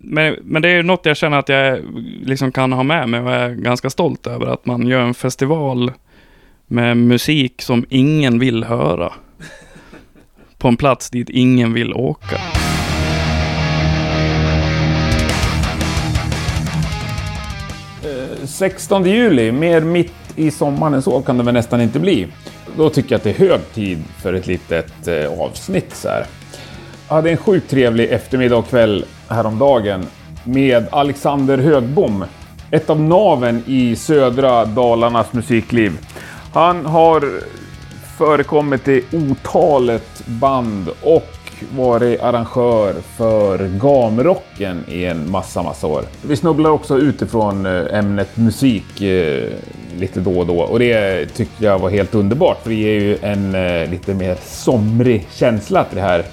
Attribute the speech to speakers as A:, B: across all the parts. A: men, men det är något jag känner att jag liksom kan ha med mig och är ganska stolt över. Att man gör en festival med musik som ingen vill höra. På en plats dit ingen vill åka.
B: Eh, 16 juli, mer mitt i sommaren än så kan det väl nästan inte bli. Då tycker jag att det är hög tid för ett litet eh, avsnitt så här. Jag hade en sjukt trevlig eftermiddag och kväll häromdagen med Alexander Högbom. Ett av naven i södra Dalarnas musikliv. Han har förekommit i otalet band och varit arrangör för Gamrocken i en massa, massa år. Vi snubblar också utifrån eh, ämnet musik eh, lite då och då och det tyckte jag var helt underbart för det ger ju en eh, lite mer somrig känsla till det här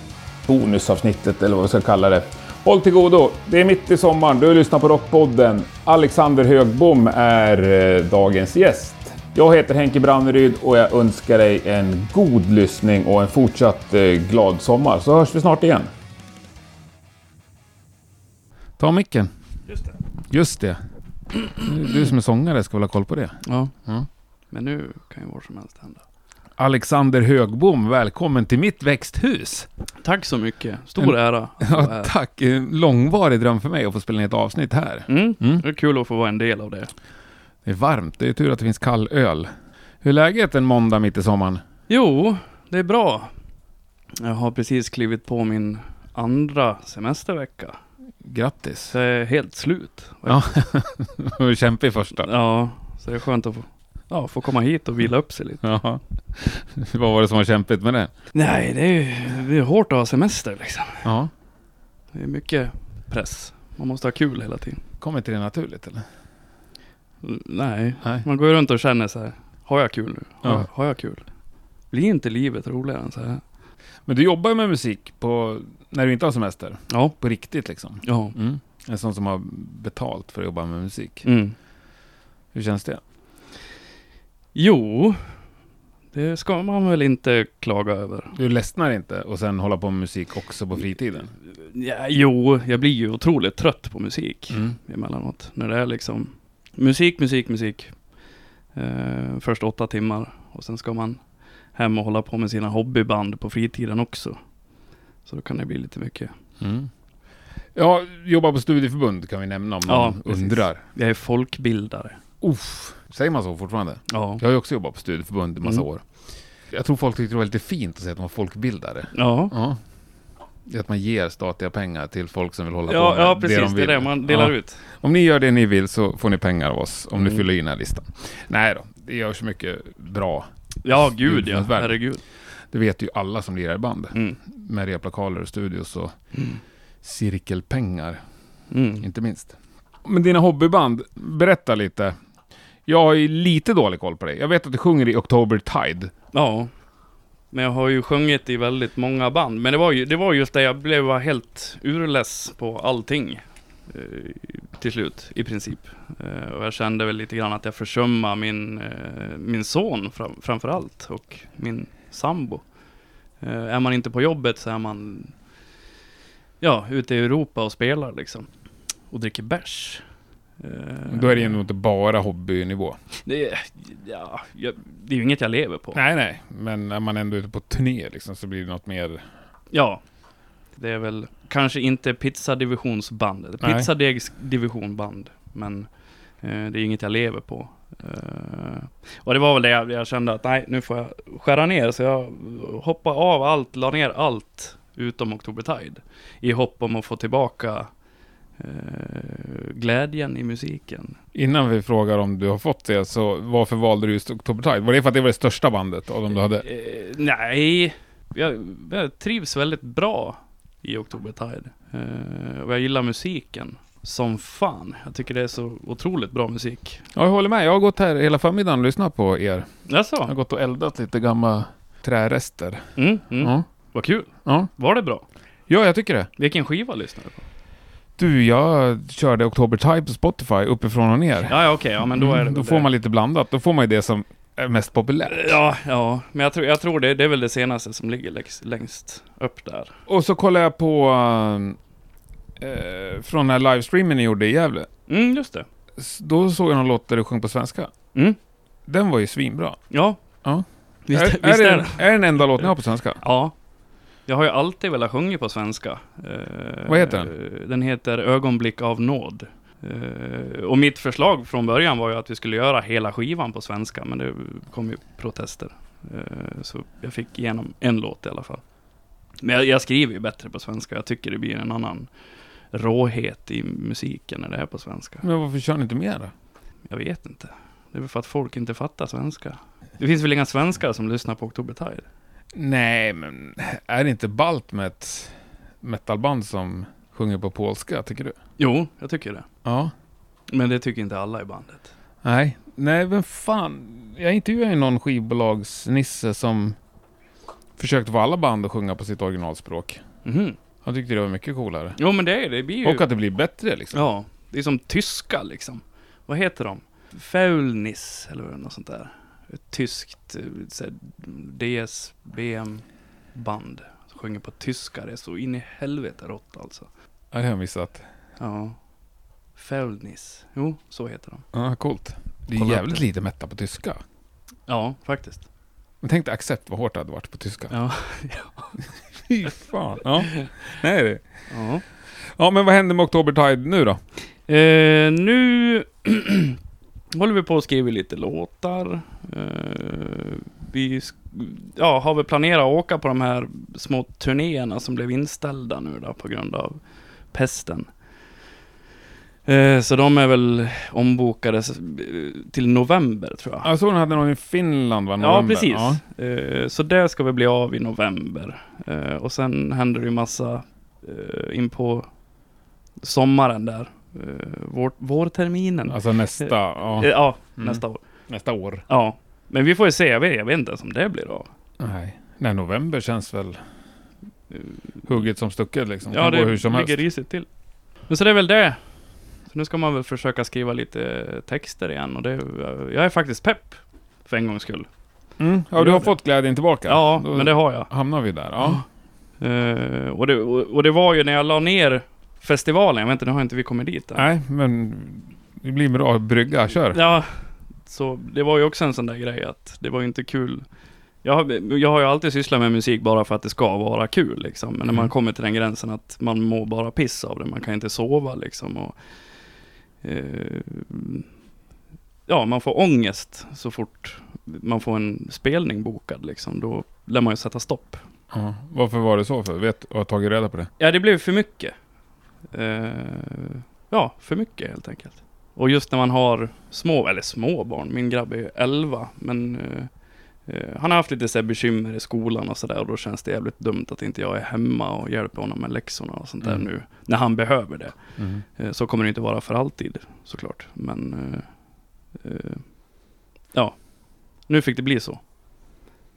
B: bonusavsnittet eller vad vi ska kalla det. Håll till godo, det är mitt i sommaren, du lyssnar på Rockpodden. Alexander Högbom är eh, dagens gäst. Jag heter Henke Branneryd och jag önskar dig en god lyssning och en fortsatt eh, glad sommar så hörs vi snart igen.
C: Ta micken. Just det. Du- Du som är sångare ska väl ha koll på det.
A: Ja.
C: Ja.
A: Men nu kan ju vad som helst hända.
C: Alexander Högbom, välkommen till mitt växthus.
A: Tack så mycket. Stor ära. att vara
C: Ja,
A: här.
C: tack. En Långvarig dröm för mig att få spela in ett avsnitt här.
A: Mm.
C: Mm.
A: Det är kul att få vara en del av det.
C: Det är varmt. Det är tur att det finns kall öl. Hur är läget en måndag mitt i sommaren?
A: Jo, det är bra. Jag har precis klivit på min andra semestervecka.
C: Grattis.
A: Så jag är helt slut.
C: Ja, det var kämpig första.
A: Ja, så det är skönt att få, ja, få komma hit och vila upp sig lite.
C: Ja. Vad var det som var kämpigt med det?
A: Nej, det är, ju- det är hårt att ha semester liksom.
C: Ja.
A: Det är mycket press. Man måste ha kul hela tiden.
C: Kommer inte det naturligt eller?
A: N- Mm, Nej,
C: Nej.
A: man går ju runt och känner så här. Har jag kul nu? Har,
C: Ja.
A: jag, har jag kul? Blir inte livet roligare än så här?
C: Men du jobbar ju med musik på, när du inte har semester.
A: Ja.
C: På riktigt liksom.
A: Ja.
C: Mm. En sån som har betalt för att jobba med musik.
A: Mm.
C: Hur känns det?
A: Jo, det ska man väl inte klaga över.
C: Du ledsnar inte och sen hålla på med musik också på fritiden?
A: Ja, jo, jag blir ju otroligt trött på musik
C: Mm.
A: emellanåt. När det är liksom musik, musik, musik. Eh, först åtta timmar och sen ska man hem och hålla på med sina hobbyband på fritiden också. Så då kan det bli lite mycket.
C: Mm. Ja, jobbar på studieförbund kan vi nämna om någon
A: Ja, precis.
C: undrar.
A: Jag är folkbildare.
C: Uff, säger man så fortfarande?
A: Ja,
C: Jag har ju också jobbat på studieförbund i massa
A: Mm.
C: år. Jag tror folk tyckte det var lite fint att säga att man var folkbildare.
A: ja.
C: Ja. Det är Att man ger statliga pengar till folk som vill hålla på
A: Ja,
C: med
A: ja precis,
C: de
A: det är
C: vill.
A: det man delar
C: Ja.
A: ut.
C: Om ni gör det ni vill så får ni pengar av oss, om ni
A: Mm.
C: fyller i den här listan. Nej då, det görs mycket bra.
A: Ja, gud ja,
C: Studieförbundsvärlden.
A: herregud.
C: Det vet ju alla som lirar i band.
A: Mm.
C: Med replakaler och studios och
A: Mm.
C: cirkelpengar,
A: Mm.
C: inte minst. Men dina hobbyband, berätta lite. Jag har ju lite dålig koll på dig. Jag vet att du sjunger i October Tide.
A: Ja. Men jag har ju sjungit i väldigt många band. Men det var ju det var just det, jag blev bara helt urless på allting. Eh, till slut, i princip. Eh, och jag kände väl lite grann att jag försummade min, eh, min son fram, framför allt. Och min sambo. Eh, är man inte på jobbet så är man ja, ute i Europa och spelar liksom. Och dricker bärs. Eh,
C: Då är det ju nog inte bara hobbynivå.
A: det, är- ja, jag, det är ju inget jag lever på.
C: Nej, nej. Men när man ändå är ute på turné liksom, så blir det något mer...
A: Ja. Det är väl kanske inte pizzadivisionsbandet.
C: Nej.
A: Pizzadegsdivisionband. Men eh, det är inget jag lever på. Eh, och det var väl det jag, jag kände att nej, nu får jag skära ner. Så jag hoppade av allt, la ner allt utom Oktobertide. I hopp om att få tillbaka eh, glädjen i musiken.
C: Innan vi frågar om du har fått det, så varför valde du just October Tide? Var det för att det var det största bandet av de du hade?
A: Eh, nej, jag, jag trivs väldigt bra i Oktobertide. Eh, och jag gillar musiken som fan. Jag tycker det är så otroligt bra musik.
C: Ja, jag håller med. Jag har gått här hela förmiddagen och lyssnat på er. Jag har
A: Jaså?
C: gått och eldat lite gamla trärester.
A: Mm, mm.
C: Ja.
A: Vad kul.
C: Ja.
A: Var det bra?
C: ja, jag tycker det.
A: Vilken skiva lyssnade du på?
C: Du, jag körde October Tide på Spotify uppifrån och ner.
A: Ja, ja okej. ja, men då är det
C: Mm, då
A: väl
C: får
A: det. Eh,
C: man lite blandat. Då får man ju det som är mest populärt.
A: Ja, ja. Men jag tror, jag tror det, det är väl det senaste som ligger längst, längst upp där.
C: Och så kollar jag på eh, eh, från den här livestreamen ni gjorde i Gävle.
A: Mm, just det.
C: S- Då såg jag någon låt där du sjöng på svenska.
A: Mm.
C: Den var ju svinbra.
A: Ja.
C: Ja.
A: Visst,
C: är,
A: visst
C: är,
A: är,
C: det,
A: det?
C: är det den enda låten jag har på svenska?
A: Ja. Jag har ju alltid velat sjunga på svenska. Eh,
C: Vad heter
A: den? Den heter Ögonblick av nåd. Eh, och mitt förslag från början var ju att vi skulle göra hela skivan på svenska, men det kom ju protester. Eh, så jag fick igenom en låt i alla fall. Men jag, jag skriver ju bättre på svenska. Jag tycker det blir en annan råhet i musiken när det är på svenska.
C: Men varför kör ni inte mer då?
A: Jag vet inte. Det är väl för att folk inte fattar svenska. Det finns väl inga svenskar som lyssnar på Oktober Tide?
C: Nej, men är det inte ballt med ett metalband som sjunger på polska, tycker du?
A: Jo, jag tycker det.
C: Ja.
A: Men det tycker inte alla i bandet.
C: Nej, nej men fan. Jag intervjuade ju någon skivbolagsnisse som försökte få alla band att sjunga på sitt originalspråk.
A: Mhm.
C: Han tyckte det var mycket coolare.
A: Jo men det är det, det blir ju...
C: Och att det blir bättre liksom.
A: Ja, det är som tyska liksom. Vad heter de? Faulnis eller något sånt där. Ett tyskt eh, så här, DSBM-band. Som sjunger på tyska, det är så in i helvete rått alltså.
C: Ja, det har jag missat.
A: Ja. Faulnis. Jo, så heter de.
C: Ja, coolt. Det är
A: Kolla upp
C: jävligt
A: det.
C: lite meta på tyska.
A: Ja, faktiskt.
C: Men tänk dig Accept vad hårt det hade varit på tyska.
A: Ja.
C: Fy fan. Ja. Nej, det.
A: ja.
C: ja, men vad händer med Oktobertide nu då?
A: Eh, nu håller vi på att skriva lite låtar. Eh, vi sk- ja, har väl planerat att åka på de här små turnéerna som blev inställda nu då på grund av pesten. Eh, så de är väl ombokade s- eh, till november tror jag.
C: Jag såg den hade någon i Finland va?
A: Ja,
C: November.
A: precis.
C: Ja.
A: Eh, så det ska vi bli av i november. Eh, och sen händer det ju massa eh, in på sommaren där. Eh, vår, vårterminen.
C: Alltså nästa,
A: Eh,
C: ja.
A: Ja,
C: Mm.
A: nästa år.
C: nästa år.
A: Ja. Men vi får ju se, jag vet, jag vet inte ens om det blir av.
C: Nej. Nej, november känns väl eh, hugget som stucket liksom.
A: Ja,
C: kan
A: det
C: gå hur som helst.
A: ligger risigt till. Men så det är väl det. Så nu ska man väl försöka skriva lite texter igen och det, eh, jag är faktiskt pepp. För en gångs skull.
C: Mm. Ja,
A: Gör
C: du har
A: det.
C: fått glädjen tillbaka.
A: Ja,
C: Då
A: men det har jag.
C: hamnar vi där. Ja.
A: Eh, och, det, och, och det var ju när jag la ner festivalen, jag vet inte, nu har inte vi kommit dit än.
C: Nej, men det blir bra brygga. Kör.
A: Ja, så det var ju också en sån där grej att det var ju inte kul. Jag har, jag har ju alltid sysslat med musik bara för att det ska vara kul liksom. Men när
C: Mm.
A: man kommer till den gränsen att man mår bara piss av det, man kan inte sova liksom. Och, eh, ja, man får ångest så fort man får en spelning bokad liksom. Då lär man ju sätta stopp.
C: Ja. Varför var det så för? Vet och har tagit reda på det?
A: Ja, det blev för mycket. Eh, ja, för mycket helt enkelt. Och just när man har små, eller små barn, min grabb är ju 11, men eh, eh, han har haft lite så här bekymmer i skolan och sådär och då känns det jävligt dumt att inte jag är hemma och hjälper honom med läxorna och sånt där
C: Mm.
A: nu, när han behöver det. Eh, så kommer det inte vara för alltid såklart, men eh, eh, ja, nu fick det bli så.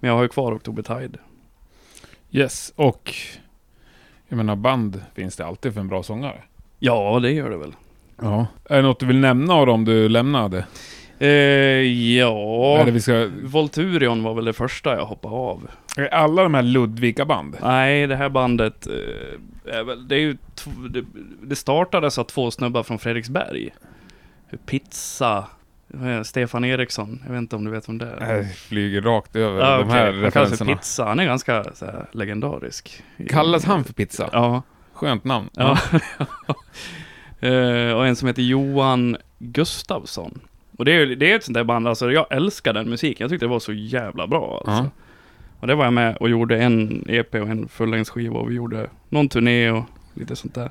A: Men jag har ju kvar Oktober Tide.
C: Yes, och jag menar band finns det alltid för en bra sångare.
A: Ja, det gör det väl.
C: Ja. Är det något du vill nämna av dem du lämnade?
A: Eh, ja...
C: Eller vi ska...
A: Volturion var väl det första jag hoppade av.
C: Är Alla de här Ludvika-band?
A: Nej, det här bandet, eh, är väl, det, är ju tv- det, det startades av två snubbar från Fredriksberg. Pizza, eh, Stefan Eriksson, jag vet inte om du vet om det är?
C: Jag flyger rakt över
A: Ja,
C: de
A: okej.
C: här
A: Han kallas för
C: referenserna.
A: Pizza, han är ganska så här, legendarisk.
C: Kallas han för pizza?
A: Ja.
C: Skönt namn.
A: ja. Eh, och en som heter Johan Gustafsson. Och det är, ju- det är ett sånt där band, alltså jag älskar den musiken, jag tyckte det var så jävla bra alltså.
C: Ja.
A: Och det var jag med och gjorde en EP och en fullängdsskiva och vi gjorde någon turné och lite sånt där.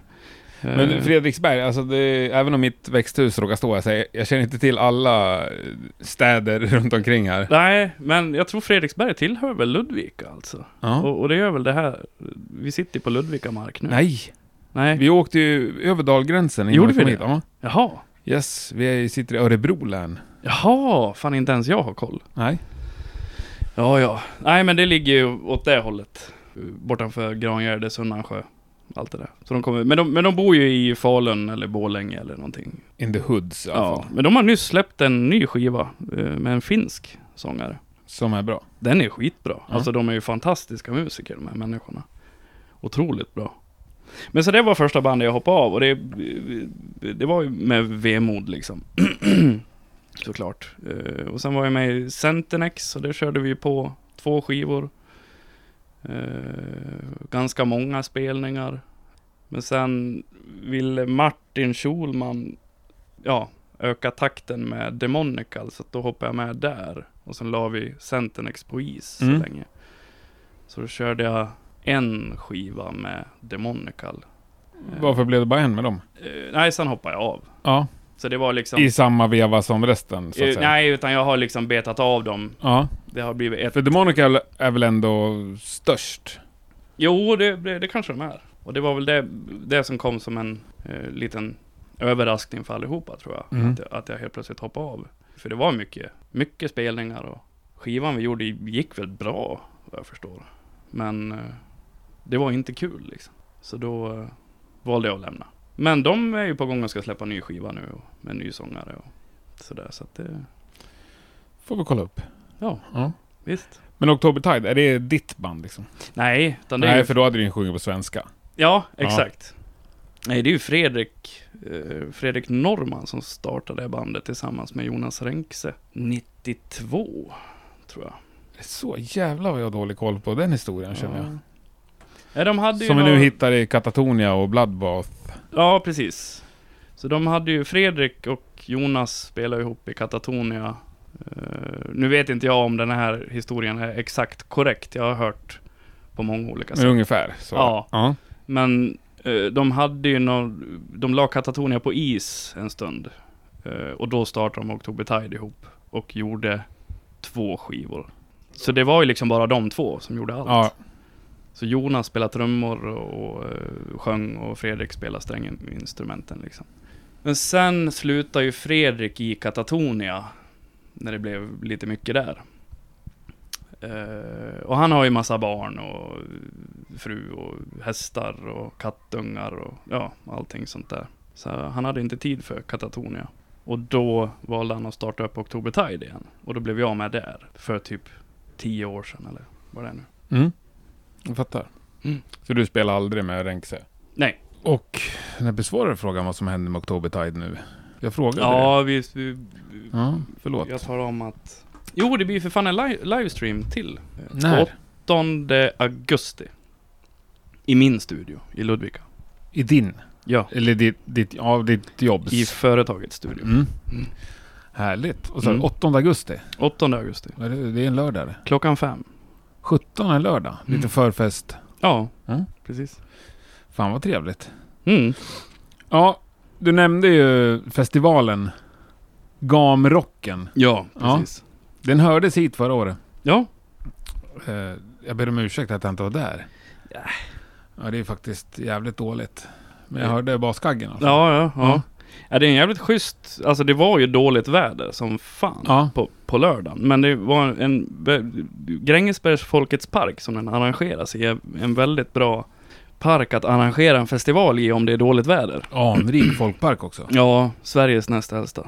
C: Men
A: Eh,
C: Fredriksberg, alltså det, även om mitt växthus råkar stå här, så jag, jag känner inte till alla eh, städer runt omkring här.
A: Nej, men jag tror Fredriksberg tillhör väl Ludvika alltså.
C: Ja.
A: Och, och det gör väl det här, vi sitter ju på Ludvika mark nu.
C: Nej,
A: Nej.
C: vi åkte ju över dalgränsen innan
A: Gjorde
C: vi kom
A: vi
C: hit.
A: det?
C: Ja.
A: Jaha.
C: Yes, vi sitter i Örebro län.
A: Jaha, fan inte ens jag har koll.
C: Nej.
A: Ja, ja. Nej, men det ligger ju åt det hållet. Bortanför Grangärde, Sunnansjö. Allt det där. Så de kommer, men, de, men de bor ju i Falun eller Borlänge eller någonting.
C: In the hoods i alla
A: Ja,
C: fall.
A: men de har nyss släppt en ny skiva eh, med en finsk sångare.
C: Som är bra.
A: Den är skitbra.
C: Ja.
A: Alltså de är ju fantastiska musiker de här människorna. Otroligt bra. Men så det var första bandet jag hoppade av och det, det var ju med vemod liksom. Såklart. Eh, och sen var jag med i Centernex och det körde vi på två skivor. Eh, ganska många spelningar. Men sen ville Martin Schulman ja, öka takten med Demonical så att då hoppade jag med där. Och sen la vi Centernex på is så
C: Mm.
A: länge. Så då körde jag en skiva med Demonical. Eh,
C: Varför blev det bara en med dem?
A: eh, nej, sen hoppade jag av.
C: Ja,
A: Så det var liksom...
C: i samma veva som resten så att
A: eh,
C: säga.
A: nej, utan jag har liksom betat av dem.
C: Ja,
A: Det har blivit ett...
C: för Demonical är väl ändå störst?
A: Jo, det, det, det kanske de är. Och det var väl det, det som kom som en eh, liten överraskning för allihopa tror jag.
C: Mm.
A: Att, jag- att jag helt plötsligt hoppade av. För det var mycket, mycket spelningar och skivan vi gjorde gick väl bra vad jag förstår. Men eh, det var inte kul liksom. Så då eh, valde jag att lämna. Men de är ju på gång och ska släppa en ny skiva nu och, med en ny sångare och sådär. Så att det,
C: Får vi kolla upp.
A: ja,
C: Ja.
A: visst.
C: Men October Tide, är det ditt band liksom?
A: Nej, utan det är ju-
C: Nej, för då hade du ju sjungit på svenska.
A: Ja,
C: Ja.
A: exakt. Nej, det är ju Fredrik, eh, Fredrik Norman som startade det här bandet tillsammans med Jonas Renkse. 92, tror jag.
C: Det är Så jävla vad jag har dålig koll på den historien känner jag.
A: Ja, de hade
C: Som
A: ju
C: vi nu
A: några-
C: hittar i Katatonia och Bloodbath.
A: Ja, precis. Så de hade ju Fredrik och Jonas spelade ihop i Katatonia. Eh, nu vet inte jag om den här historien är exakt korrekt. Jag har hört på många olika
C: Men
A: sätt.
C: ungefär så.
A: Ja.
C: ja.
A: Men eh, de hade ju någon, de la Katatonia på is en stund. Eh, och då startade de October Tide ihop och gjorde två skivor. Så det var ju liksom bara de två som gjorde allt.
C: Ja.
A: Så Jonas spelade trummor och, och eh, sjöng och Fredrik spelade stränginstrumenten liksom. Men sen slutade ju Fredrik i Katatonia när det blev lite mycket där. Eh, och han har ju massa barn och fru och hästar och kattungar och ja, allting sånt där. Så han hade inte tid för Katatonia. Och då valde han att starta upp October Tide igen. Och då blev jag med där för typ tio år sedan eller vad det är nu.
C: Mm. Jag fattar.
A: Mm.
C: Så du spelar aldrig med Renkse?
A: Nej.
C: Och när besvarade frågan vad som hände med October Tide nu? Jag frågade
A: Ja, vi, vi,
C: det. Ja, förlåt.
A: jag tar om att... Jo, det blir för fan en li- livestream till. Eh,
C: När?
A: 8 augusti. I min studio i Ludvika.
C: I din?
A: Ja.
C: Eller ditt, ditt, ja, ditt jobbs?
A: I företagets studio.
C: mm.
A: Mm.
C: Härligt. Och så
A: Mm.
C: 8 augusti.
A: 8 augusti.
C: Vad är Det det är en lördag det.
A: Klockan fem.
C: 17 är en lördag. Lite
A: Mm.
C: förfest.
A: Ja,
C: Mm.
A: precis.
C: Fan vad trevligt.
A: Mm.
C: Ja, du nämnde ju festivalen. Gamrocken.
A: Ja,
C: Ja.
A: precis.
C: Den hördes hit förra året.
A: Ja.
C: Eh, jag ber om ursäkt att jag inte var där.
A: Ja.
C: Ja, det är faktiskt jävligt dåligt. Men jag
A: Ja.
C: hörde baskaggen alltså.
A: Ja, ja, ja.
C: Ja.
A: Ja, det är en jävligt schysst, alltså det var ju dåligt väder som fan
C: Ja.
A: på, på lördagen. Men det var en, Grängesbergs Folkets Park som den arrangeras i, är en väldigt bra park att arrangera en festival i om det är dåligt väder.
C: Anrik folkpark också.
A: Ja, Sveriges näst äldsta.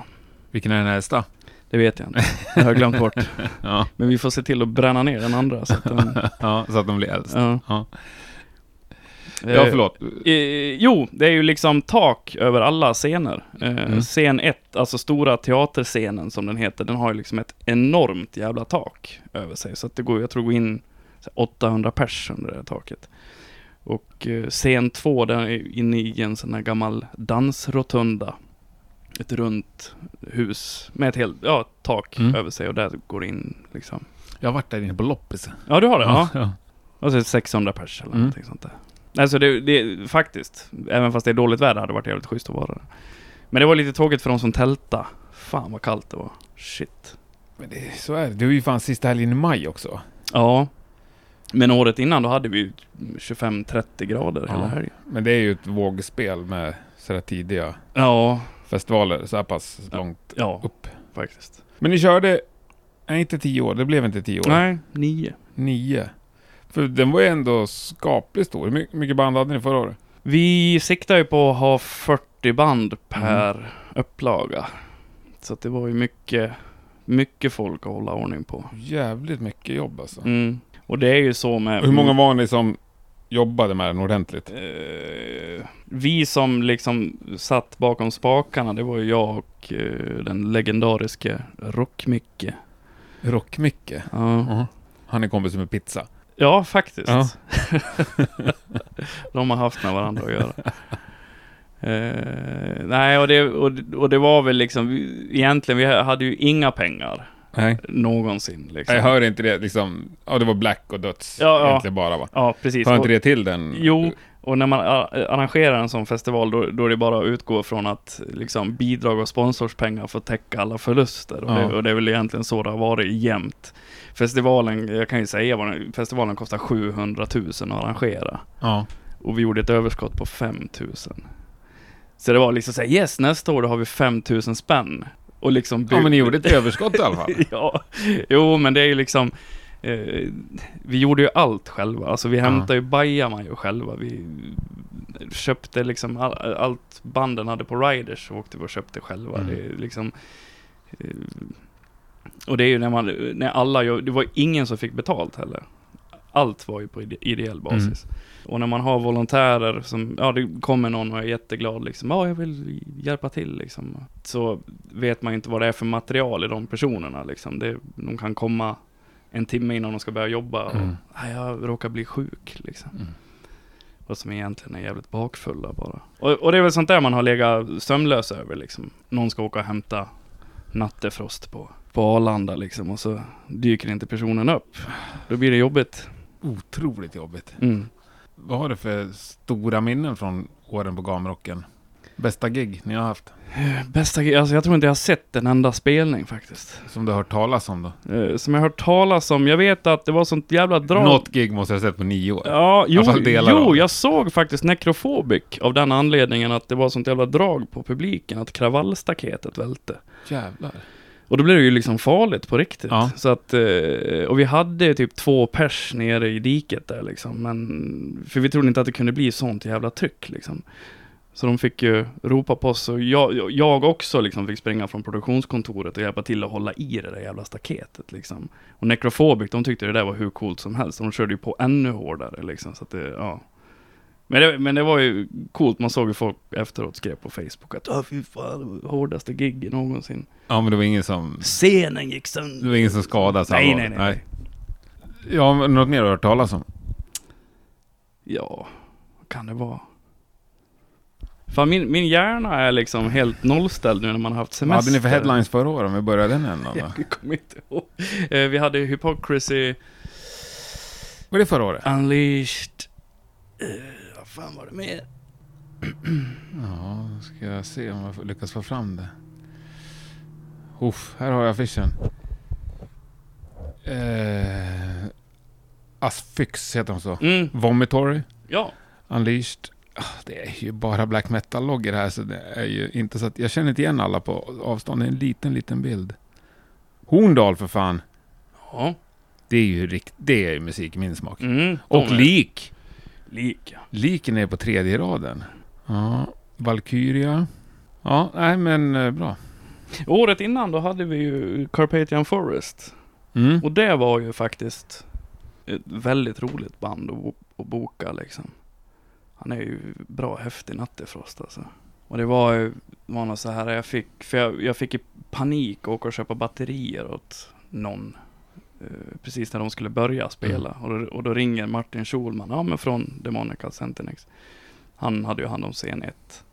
C: Vilken är den äldsta?
A: Det vet jag inte. Jag har glömt bort.
C: Ja.
A: Men vi får se till att bränna ner den andra. Så att den,
C: ja, så att de blir äldst.
A: ja.
C: Ja. Ja, förlåt.
A: Eh, jo, det är ju liksom tak över alla scener. Eh,
C: Mm.
A: Scen 1, alltså stora teaterscenen som den heter, den har ju liksom ett enormt jävla tak över sig. Så att det går, jag tror det går in så här 800 pers under det här taket. Och eh, scen 2, den är inne i en sån här gammal dansrotunda. Ett runt hus med ett helt, ja, ett tak
C: Mm.
A: över sig och där går det in liksom.
C: Jag har varit där inne på loppis.
A: Ja, du har det? Ja.
C: ja.
A: Och så 600 pers eller
C: Mm.
A: någonting sånt där. Alltså det, det, faktiskt. Även fast det är dåligt väder hade det varit jävligt schysst att vara där. Men det var lite tråkigt för de som tälta. Fan vad kallt det var. Shit.
C: Men det, så är det. Du är ju fan sista helgen i maj också.
A: Ja. Men året innan då hade vi ju 25-30 grader
C: Ja.
A: hela helgen.
C: Men det är ju ett vågspel med sådär tidiga
A: Ja,
C: festivaler. Så här pass långt.
A: ja.
C: Upp.
A: Faktiskt.
C: Men ni körde... Nej, inte tio år. Det blev inte tio år.
A: Nej, nio.
C: Nio. För den var ju ändå skapligt stor. Hur my- mycket band hade ni förra året?
A: Vi siktar ju på att ha 40 band per
C: Mm.
A: upplaga. Så att det var ju mycket, mycket folk att hålla ordning på.
C: Jävligt mycket jobb alltså.
A: Mm. Och det är ju så med...
C: Hur många var ni som jobbade med den ordentligt.
A: Eh, vi som liksom satt bakom spakarna, det var ju jag och eh, den legendariske Rockmicke.
C: Rockmycke.
A: Ja.
C: uh Han är kompis med pizza.
A: ja, faktiskt.
C: Ja.
A: De har haft med varandra att göra. Eh, nej, och det, och, det- och det var väl liksom, vi- egentligen, vi hade ju inga pengar
C: Nej.
A: någonsin. Liksom.
C: Jag hör inte det liksom. Ja, det var black och döds
A: Ja, ja.
C: egentligen bara va?
A: Ja, precis.
C: Hör
A: Och-
C: inte det till den?
A: Jo, och när man ar- arrangerar en sån festival då, då är det bara att utgå från att liksom, bidrag och sponsorspengar får täcka alla förluster. Och,
C: Ja.
A: det, och det är väl egentligen så det har varit jämt. Festivalen, jag kan ju säga vad den, festivalen kostar 700 000 att arrangera.
C: Ja.
A: Och vi gjorde ett överskott på 5 000. Så det var liksom såhär, yes nästa år då har vi 5 000 spänn. Och liksom
C: ja,
A: bu-
C: men ni gjorde ett överskott i alla fall.
A: ja, jo men det är ju liksom eh, Vi gjorde ju allt själva, alltså vi hämtade ju bajamajor själva Vi köpte liksom all, allt banden hade på Riders så åkte vi och köpte själva
C: Mm.
A: Det är liksom eh, Och det är ju när man, när alla gör, det var ingen som fick betalt heller allt var ju på ide-
C: Mm.
A: ideell basis. Och när man har volontärer som, ja det kommer någon och är jätteglad liksom, ja jag vill hjälpa till liksom. Så vet man ju inte vad det är för material i de personerna liksom. Det, de kan komma en timme innan de ska börja jobba och,
C: Mm.
A: "Nej, jag råkar bli sjuk liksom.
C: Mm.
A: Och som egentligen är jävligt bakfulla bara. Och, och det är väl sånt där man har legat sömnlös över liksom. Någon ska åka och hämta nattefrost på, på Arlanda liksom och så dyker inte personen upp. Då blir det jobbigt.
C: Otroligt jobbigt.
A: Mm.
C: Vad har du för stora minnen från åren på Gamrocken? Bästa gig ni har haft?
A: Bästa grej- alltså jag tror inte jag har sett en enda spelning faktiskt.
C: Som du har hört talas om då?
A: Eh, som jag har hört talas om. Jag vet att det var sånt jävla drag.
C: Något gig måste jag ha sett på nio år.
A: Ja, jo,
C: alla fall delar av
A: jo
C: det.
A: jag såg faktiskt Necrophobic av den anledningen att det var sånt jävla drag på publiken, att kravallstaketet välte.
C: Jävlar.
A: Och då blev det ju liksom farligt på riktigt.
C: Ja.
A: Så att, eh, och vi hade typ två pers nere i diket där liksom. Men, för vi trodde inte att det kunde bli sånt jävla tryck liksom. Så de fick ju ropa på oss och jag, jag också liksom fick springa från produktionskontoret och hjälpa till att hålla i det där jävla staketet liksom. Och Necrophobic, de tyckte det där var hur coolt som helst. De körde ju på ännu hårdare liksom. Så att det, ja. Men det, men det var ju coolt, man såg ju folk efteråt skrev på Facebook att Åh, fy fan, hårdaste gig någonsin.
C: Ja, men det var ingen som,
A: Scenen gick
C: det
A: sönder.
C: var ingen som skadades
A: Nej, nej,
C: allvarligt.
A: nej.
C: nej. Ja, men något mer du har hört talas om?
A: Ja, vad kan det vara? Fan, min, min hjärna är liksom helt nollställd nu när man har haft
C: Vad hade
A: semester.
C: ni för headlines förra året om vi börjar den änden då?
A: Jag kommer inte ihåg. Eh, Vi hade Hypocrisy,
C: Var det förra året?
A: Unleashed... eh, Vad fan var det med?
C: Ja, då ska jag se om jag lyckas få fram det. Uff, här har jag affischen. Eh, Asphyx heter de så.
A: Mm,
C: Vomitory,
A: ja.
C: Unleashed. Ah, Det är ju bara black metal-loggor här så det är ju inte så att... Jag känner inte igen alla på avstånd. Det är en liten, liten bild. Horndal för fan.
A: ja.
C: Det är ju rikt, det är ju musik i min smak.
A: Mm, de
C: Och
A: är-
C: lik.
A: Lik, ja.
C: Liken är på tredje raden. Ja, Valkyria. Ja, nej men eh, bra.
A: Året innan då hade vi ju Carpathian Forest.
C: Mm.
A: Och det var ju faktiskt ett väldigt roligt band att, bo- att boka liksom. Han är ju bra häftig Nattefrost alltså. Och det var ju, var något så här jag fick, för jag, jag fick i panik och åka och köpa batterier åt någon. eh, precis när de skulle börja spela. Och, då, och då ringer Martin Schulman, ja men från Demonical Centinex. Han hade ju hand om scen 1.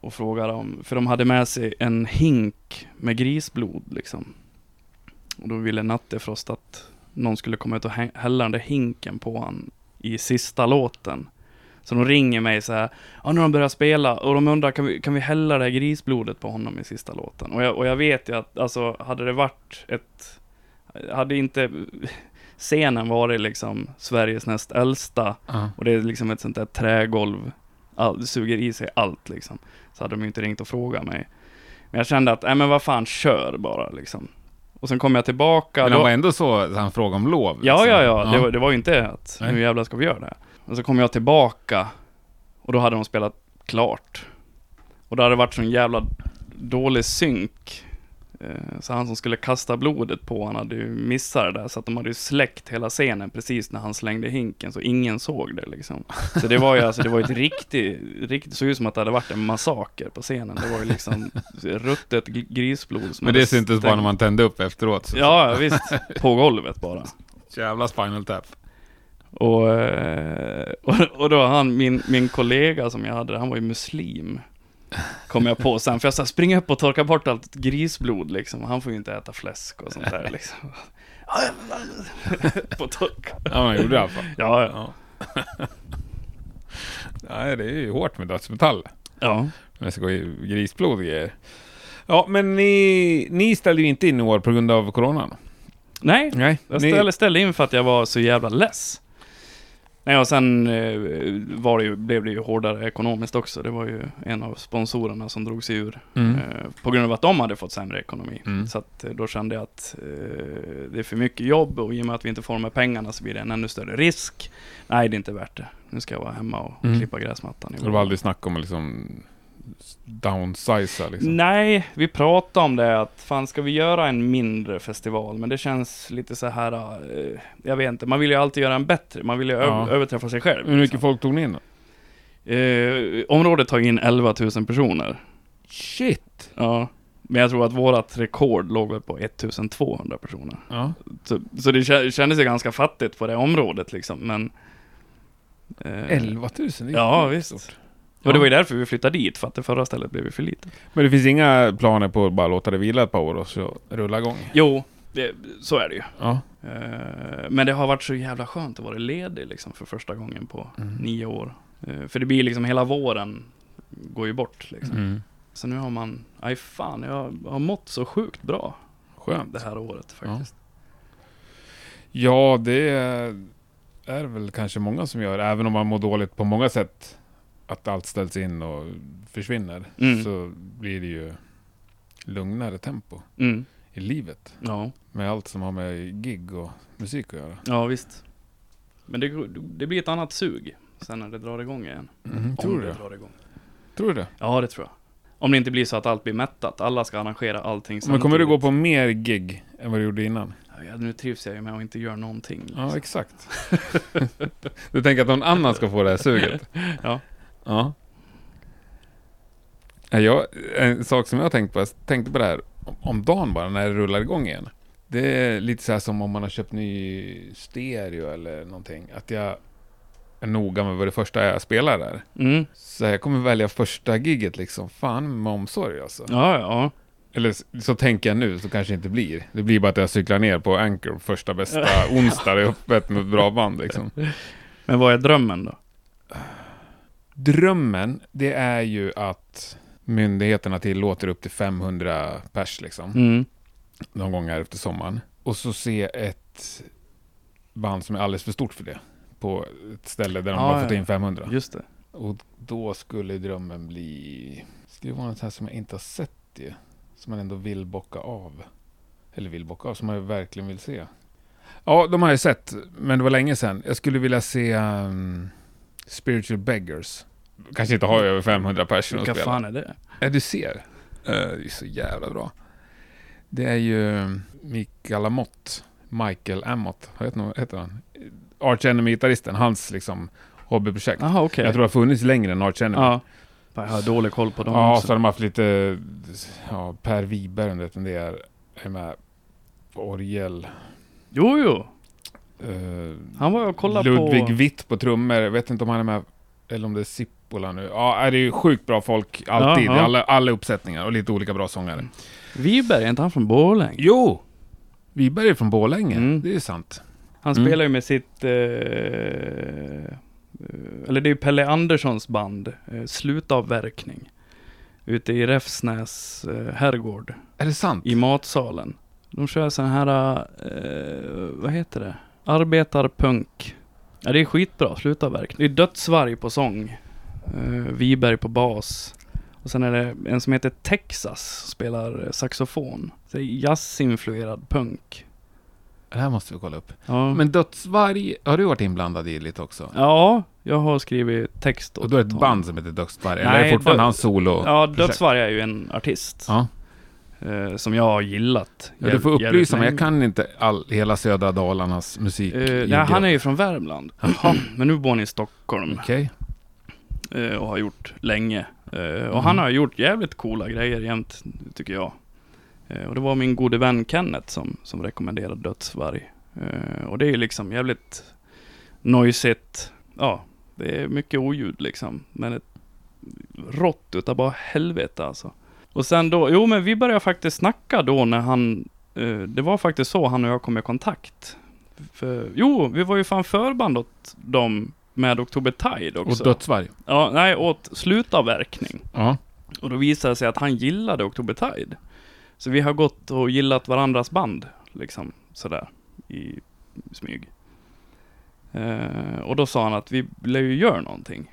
A: Och frågar om, för de hade med sig en hink med grisblod liksom. Och då ville Nattefrost att någon skulle komma ut och hä- hälla den där hinken på han i sista låten. Så de ringer mig så här, ja nu har de börjat spela och de undrar kan vi, kan vi hälla det här grisblodet på honom i sista låten? Och jag, och jag vet ju att alltså hade det varit ett, hade inte scenen varit liksom Sveriges näst äldsta
C: Ja.
A: och det är liksom ett sånt där trägolv, all, det suger i sig allt liksom. Så hade de ju inte ringt och frågat mig. Men jag kände att, nej men vad fan, kör bara liksom. Och sen kom jag tillbaka.
C: Men
A: då-
C: han var ändå så, att han frågade om lov.
A: Ja,
C: liksom.
A: ja, ja. Det, var, det var ju inte att
C: Nej.
A: nu jävlar ska vi göra det här. Och så kom jag tillbaka och då hade de spelat klart. Och då hade det varit sån jävla dålig synk Eh, Så han som skulle kasta blodet på han hade ju missat det där, så att de hade ju släckt hela scenen precis när han slängde hinken, så ingen såg det liksom. Så det var ju alltså, det var ju ett riktigt, riktigt, såg ut som att det hade varit en massaker på scenen. Det var ju liksom ruttet gr- grisblod som
C: Men det
A: hade
C: syntes bara
A: stängt-
C: när man tände upp efteråt. Så.
A: Ja, ja, visst. På golvet bara.
C: Jävla spinal tap.
A: Och, eh, och, och då han, min, min kollega som jag hade, han var ju muslim. Kom jag på sen, för jag sa spring upp och torka bort allt grisblod liksom. Han får ju inte äta fläsk och sånt där liksom. på tork.
C: Ja, man gjorde det i alla fall.
A: Ja, ja.
C: Ja. Nej, det är ju hårt med dödsmetall.
A: ja.
C: När det ska gå i grisblod och grejer. Ja, men ni, ni ställde ju inte in i år på grund av coronan.
A: Nej,
C: Nej,
A: jag
C: ni,
A: ställde, ställde in för att jag var så jävla less. Nej, och sen eh, var det ju, blev det ju hårdare ekonomiskt också. Det var ju en av sponsorerna som drog sig ur
C: Mm.
A: Eh, På grund av att de hade fått sämre ekonomi.
C: Mm.
A: Så att eh, då kände jag att eh, det är för mycket jobb och i och med att vi inte får de här pengarna så blir det en ännu större risk. Nej, det är inte värt det. Nu ska jag vara hemma och
C: Mm.
A: klippa gräsmattan. i
C: Det var aldrig snack om att liksom downsiza liksom.
A: Nej, vi pratade om det att fan ska vi göra en mindre festival? Men det känns lite så här, eh, jag vet inte, man vill ju alltid göra en bättre, man vill ju ö-
C: Ja.
A: överträffa sig själv.
C: Hur mycket
A: liksom.
C: folk tog ni in då?
A: Eh, området tar in 11 000 personer.
C: Shit!
A: Ja. Men jag tror att vårat rekord låg väl på 1200 personer.
C: Ja.
A: Så, så det kä- kändes ju ganska fattigt på det området liksom, men... eh,
C: 11 000? det är
A: Ja,
C: sjukt
A: visst.
C: stort.
A: Och det var ju därför vi flyttade dit, för att det förra stället blev ju för litet.
C: Men det finns inga planer på att bara låta det vila ett par år och så rulla igång?
A: Jo, det, så är det ju.
C: Ja.
A: Eh, men det har varit så jävla skönt att vara ledig liksom för första gången på
C: Mm.
A: nio år. Eh, för det blir liksom hela våren går ju bort liksom.
C: Mm.
A: Så nu har man, aj fan, jag har mått så sjukt bra
C: Skönt.
A: det här året faktiskt.
C: Ja, det är väl kanske många som gör, även om man mår dåligt på många sätt. Att allt ställs in och försvinner.
A: Mm.
C: Så blir det ju lugnare tempo
A: Mm,
C: i livet.
A: ja.
C: Med allt som har med gig och musik att göra.
A: ja, visst. Men det, det blir ett annat sug sen när det drar igång igen.
C: Mm. Tror
A: Om
C: du
A: det
C: det?
A: drar igång.
C: Tror du det?
A: Ja, det tror jag. Om det inte blir så att allt blir mättat. Alla ska arrangera allting
C: Men kommer du gå
A: samtidigt.
C: på mer gig än vad du gjorde innan?
A: Ja, nu trivs jag ju med att inte göra någonting.
C: Ja,
A: Liksom.
C: exakt. du tänker att någon annan ska få det här suget?
A: Ja.
C: Ja. Ja, Jag, en sak som jag har tänkt på, jag tänkte på det här om- om dagen bara, när det rullar igång igen. Det är lite så här som om man har köpt ny stereo eller någonting. Att jag är noga med vad det första är jag spelar där.
A: Mm.
C: Så jag kommer välja första giget liksom, fan med omsorg alltså.
A: Ja, ja.
C: Eller s- så tänker jag nu, så kanske det inte blir. Det blir bara att jag cyklar ner på Anchor första bästa onsdag, det är öppet med ett bra band liksom.
A: Men vad är drömmen då?
C: Drömmen, det är ju att myndigheterna tillåter upp till 500 pers liksom,
A: Mm.
C: någon gång här efter sommaren. Och så se ett band som är alldeles för stort för det, på ett ställe där de
A: Ja,
C: bara får ta
A: ja.
C: in 500.
A: Just det.
C: Och då skulle drömmen bli... Skulle vara något här som jag inte har sett ju. Som man ändå vill bocka av. Eller vill bocka av, som man verkligen vill se. Ja, de har jag sett, men det var länge sedan. Jag skulle vilja se um, Spiritual Beggars. Kanske inte har över 500 personer
A: Vilka
C: att spela.
A: fan är det?
C: Ja, du ser. Eh, det är så jävla bra. Det är ju ehm, Mikael Amott. Michael Amott, vad heter han- heter han? Arch Enemy-gitarristen, hans liksom hobbyprojekt.
A: Jaha, okej.
C: Jag tror det har funnits längre än Arch Enemy. Ja,
A: Ja. Fan, Jag har dålig koll på dem också.
C: så har de haft lite ja, Per Wiberg, om du vet vem det är, är med på orgel.
A: Jo, jo.
C: Eh,
A: Han var ju och kollade
C: Ludvig
A: på...
C: Witt på trummor. Jag vet inte om han är med, eller om det är Sippola nu. Ja, är det är ju sjukt bra folk alltid.
A: Ja,
C: i
A: ja.
C: Alla, alla uppsättningar och lite olika bra sångare.
A: Wiberg, är inte han från Borlänge?
C: Jo! Wiberg är från Borlänge,
A: Mm.
C: det är ju sant.
A: Han
C: Mm.
A: spelar ju med sitt... Eh, eh, eller det är ju Pelle Anderssons band, eh, Slutavverkning. Ute i Räfsnäs eh, herrgård.
C: Är det sant?
A: i matsalen. De kör sån här, eh, vad heter det? Arbetarpunk. Ja, det är skitbra slutavverk. Det är Dödsvarg på sång. Eh, Viberg på bas. Och sen är det en som heter Texas, som spelar eh, saxofon. Så det är jazzinfluerad punk.
C: Det här måste vi kolla upp.
A: Ja.
C: Men Dödsvarg har du varit inblandad i lite också?
A: Mm. ja, jag har skrivit text
C: Och då är det ett
A: honom.
C: band som heter Dödsvarg, eller
A: Nej,
C: är det fortfarande
A: Dö-
C: hans solo?
A: Ja, Dödsvarg är ju en artist.
C: Ja.
A: eh, som jag har gillat.
C: Ja, du får
A: jäv- jävligt
C: upplysa mig, jag
A: länge.
C: kan inte all, hela södra Dalarnas musik.
A: Eh, nej, han är ju från Värmland. Men nu bor han i Stockholm
C: Okej.
A: eh, och har gjort länge. Eh, och
C: Mm.
A: han har gjort jävligt coola grejer jämt, tycker jag. Eh, och det var min gode vän Kenneth som, som rekommenderade Dödsvarg. Eh, och det är ju liksom jävligt noisigt. Ja, det är mycket oljud liksom. Men ett rått utav bara helvete alltså. Och sen då, jo men vi började faktiskt snacka då när han, eh, det var faktiskt så han och jag kom i kontakt. För, jo, vi var ju fan förband åt dem med Oktober Tide
C: Och
A: också.
C: Dödsvarg.
A: Ja, nej, åt slutavverkning.
C: Ja.
A: Och då visade det sig att han gillade October Tide. Så vi har gått och gillat varandras band, liksom sådär, i smyg. Eh, och då sa han att vi lär ju göra någonting.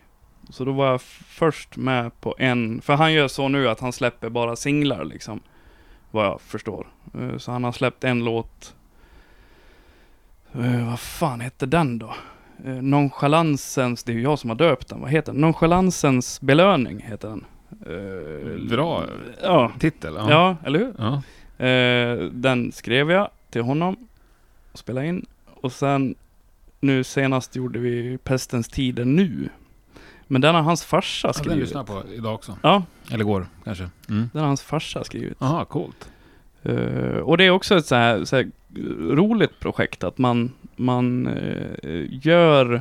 A: Så då var jag f- först med på en, för han gör så nu att han släpper bara singlar liksom. Vad jag förstår. Eh, så han har släppt en låt. Eh, vad fan hette den då? Eh, Nonchalansens, det är ju jag som har döpt den, vad heter den? Nonchalansens belöning heter den. Eh,
C: Bra
A: Ja,
C: titel. Ja.
A: ja eller hur?
C: Ja.
A: Eh, den skrev jag till honom och spelade in. Och sen nu senast gjorde vi Pestens tider nu. Men den har hans farsa
C: Ja, den
A: skrivit.
C: lyssnar jag på idag också.
A: Ja,
C: Eller går kanske. Mm.
A: den har hans farsa skrivit.
C: Aha, coolt.
A: Eh, och det är också ett så här, så här roligt projekt att man, man eh, gör...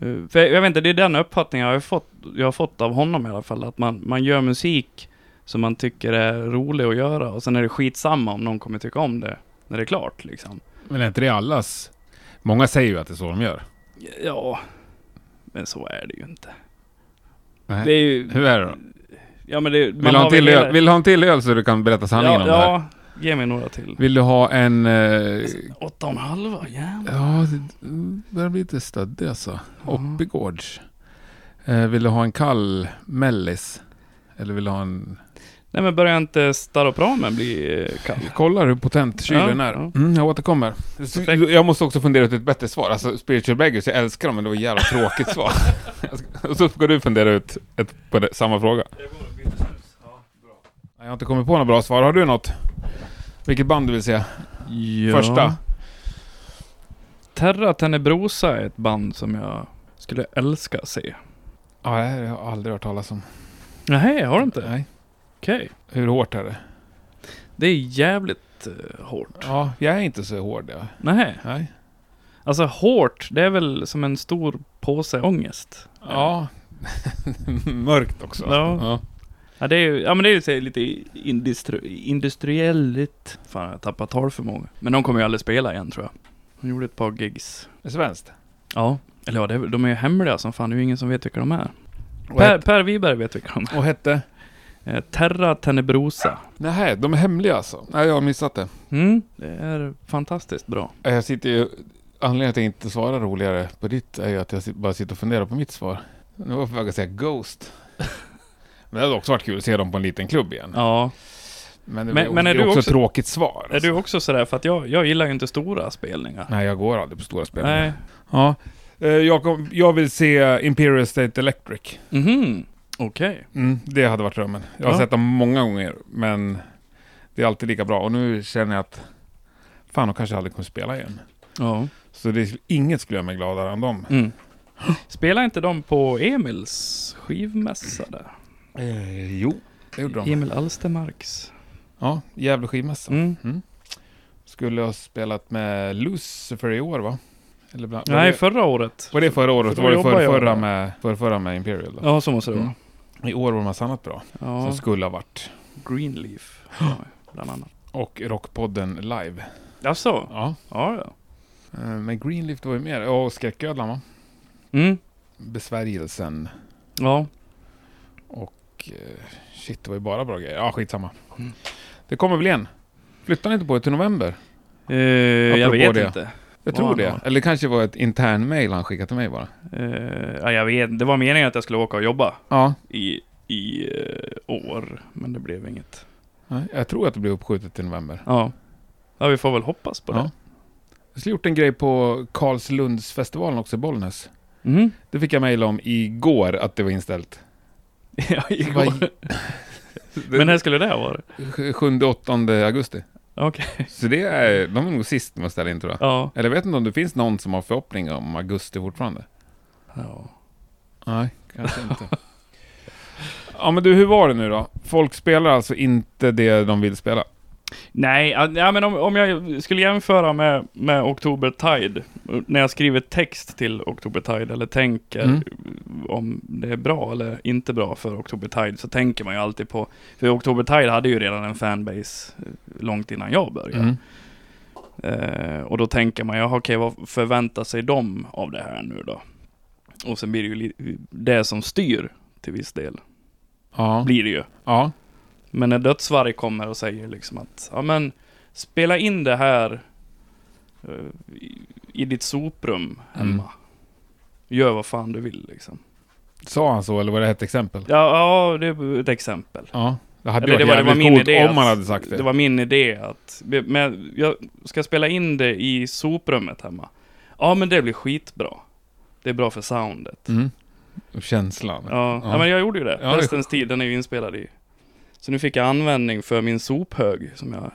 A: eh, för jag, jag vet inte, det är den uppfattningen jag har fått, jag har fått av honom i alla fall. Att man, man gör musik som man tycker är rolig att göra och sen är det skitsamma om någon kommer tycka om det när det är klart liksom.
C: Men är inte det allas? Många säger ju att det är så de gör.
A: Ja, men så är det ju inte.
C: Nej.
A: Det är ju...
C: Hur är det då?
A: Ja men det,
C: Vill du, ha en till öl, vill du ha en till öl så du kan berätta sanningen
A: ja,
C: om det här?
A: ja, ge mig några till.
C: Vill du ha en... Eh,
A: Åtta och en halva, jävlar.
C: ja, det börjar bli lite stöddig alltså.
A: Ja.
C: Oppigårds. Eh, vill du ha en kall mellis? Eller vill du ha en...
A: Nej men börjar inte Staropramen bli eh, kall?
C: Jag kollar hur potent kylen
A: Ja,
C: är.
A: ja.
C: Mm, jag återkommer.
A: Perfekt.
C: Jag måste också fundera ut ett bättre svar. Alltså spiritual beggars, jag älskar dem men det var ett jävla tråkigt svar. Och så ska du fundera ut ett, på det, samma fråga. Nej, Jag har inte kommit på något bra svar. Har du något? Vilket band du vill se?
A: Ja.
C: Första?
A: Terra Tenebrosa är ett band som jag skulle älska att se.
C: Ja, det här har jag aldrig hört talas om.
A: Nej, har du inte?
C: Nej.
A: Okej.
C: Hur hårt är det?
A: Det är jävligt eh, hårt.
C: Ja, jag är inte så hård jag.
A: Nej.
C: Nej.
A: Alltså hårt, det är väl som en stor påse ångest.
C: Ja. Mörkt också.
A: Ja.
C: ja.
A: Ja, det är ju, ja men det är ju så här lite industri, industriellt. Fan, jag tappar talförmåga. Men de kommer ju aldrig spela igen tror jag. De gjorde ett par gigs.
C: Det är svenskt.
A: Ja. Eller ja, det, är- de är ju hemliga som fan. Det är ju ingen som vet vilka de är.
C: Och,
A: Per,
C: het,
A: per Wiberg vet vilka de är.
C: och hette?
A: Eh, Terra Tenebrosa.
C: Nej, de är hemliga alltså. Nej, jag har missat det.
A: Mm, det är fantastiskt bra.
C: Eh, Jag sitter ju... Anledningen till att jag inte svarar roligare på ditt är ju att jag sit- bara sitter och funderar på mitt svar. Nu var jag på väg att säga Ghost. Men det hade också varit kul att se dem på en liten klubb igen.
A: Ja.
C: Men det
A: Men-
C: men,
A: men är
C: är
A: du
C: också ett
A: också-
C: tråkigt svar. alltså.
A: Är du också sådär, för att jag, jag gillar ju inte stora spelningar.
C: Nej, jag går aldrig på stora spelningar.
A: Nej.
C: Ja. Eh, Jag, kom, jag vill se Imperial State Electric.
A: Mhm. Okej.
C: Mm, det hade varit drömmen. Jag har
A: Ja.
C: sett dem många gånger, men det är alltid lika bra. Och nu känner jag att fan, de kanske aldrig kommer spela igen.
A: Ja.
C: Så det, är- inget skulle göra mig gladare än dem.
A: Mm. Spelar inte de på Emils skivmässa där?
C: Eh, jo, det gjorde de.
A: Emil Alstermarks.
C: Ja, Gävle skivmässa.
A: Mm.
C: Skulle ha spelat med Lucifer i år, va? Eller bland, var
A: Nej,
C: det,
A: förra året.
C: var det förra året?
A: för då
C: var det
A: jobbar
C: förra,
A: jag
C: förra,
A: där.
C: med, förra, förra med Imperial? Då?
A: Ja, så måste det
C: Mm.
A: vara.
C: I år var det massa annat bra,
A: Ja.
C: som skulle ha varit.
A: Greenleaf. Ja, bland annat.
C: Och Rockpodden live.
A: Jaså?
C: Ja.
A: Ja, ja.
C: Eh, Men Greenleaf var ju mer, ja och Skräcködlan va?
A: Mm.
C: Besvärjelsen
A: Ja.
C: och eh, shit det var ju bara bra grejer. Ja skitsamma.
A: Mm.
C: Det kommer väl igen. Flyttar ni inte på det till november?
A: Eh, jag
C: Apropå
A: vet
C: det.
A: inte.
C: Jag
A: Vad
C: tror
A: han
C: det.
A: har.
C: Eller kanske var ett intern mail han skickade till mig bara.
A: Eh, ja, jag vet. Det var meningen att jag skulle åka och jobba
C: Ja,
A: i, i eh, år, men det blev inget.
C: nej, jag tror att det blir uppskjutet till november.
A: Ja. Ja, vi får väl hoppas på
C: Ja. Jag skulle gjort en grej på Karlslundsfestivalen också i Bollnäs.
A: det. Mm.
C: Det fick jag mail om igår att det var inställt.
A: ja,
C: Vad-
A: igår. Men när skulle det ha varit?
C: 7-8 augusti.
A: Okej.
C: Så det är, de är nog sist med att ställa in tror jag.
A: Ja.
C: Eller jag vet inte om det finns någon som har förhoppningar om augusti fortfarande.
A: ja.
C: Nej, kanske inte. ja men du, hur var det nu då? Folk spelar alltså inte det de vill spela?
A: Nej, ja, nej, men om, om jag skulle jämföra med, med Oktober Tide, när jag skriver text till Oktober Tide eller tänker
C: Mm.
A: om det är bra eller inte bra för Oktober Tide, så tänker man ju alltid på, för Oktober Tide hade ju redan en fanbase eh, långt innan jag började.
C: Mm.
A: Eh, och då tänker man, jaha okej, vad förväntar sig de av det här nu då? Och sen blir det ju li- det som styr till viss del,
C: Ja.
A: blir det ju.
C: ja.
A: Men när Dödsvarg kommer och säger liksom att, ja men, spela in det här eh, i, i ditt soprum hemma.
C: Mm.
A: Gör vad fan du vill liksom.
C: Sa han så eller var det ett exempel?
A: Ja, ja det är ett exempel.
C: Ja. Det hade
A: Eller
C: varit
A: det var- det var
C: jävligt
A: min
C: coolt
A: idé
C: om man
A: att-
C: hade sagt det.
A: Det var min idé att, men jag ska spela in det i soprummet hemma. Ja men det blir skitbra. Det är bra för soundet.
C: Mm. Och Känslan.
A: Ja, ja.
C: Ja.
A: men jag gjorde ju det.
C: Ja, det är
A: Höstens tid, den är ju inspelad i. Så nu fick jag användning för min sophög som jag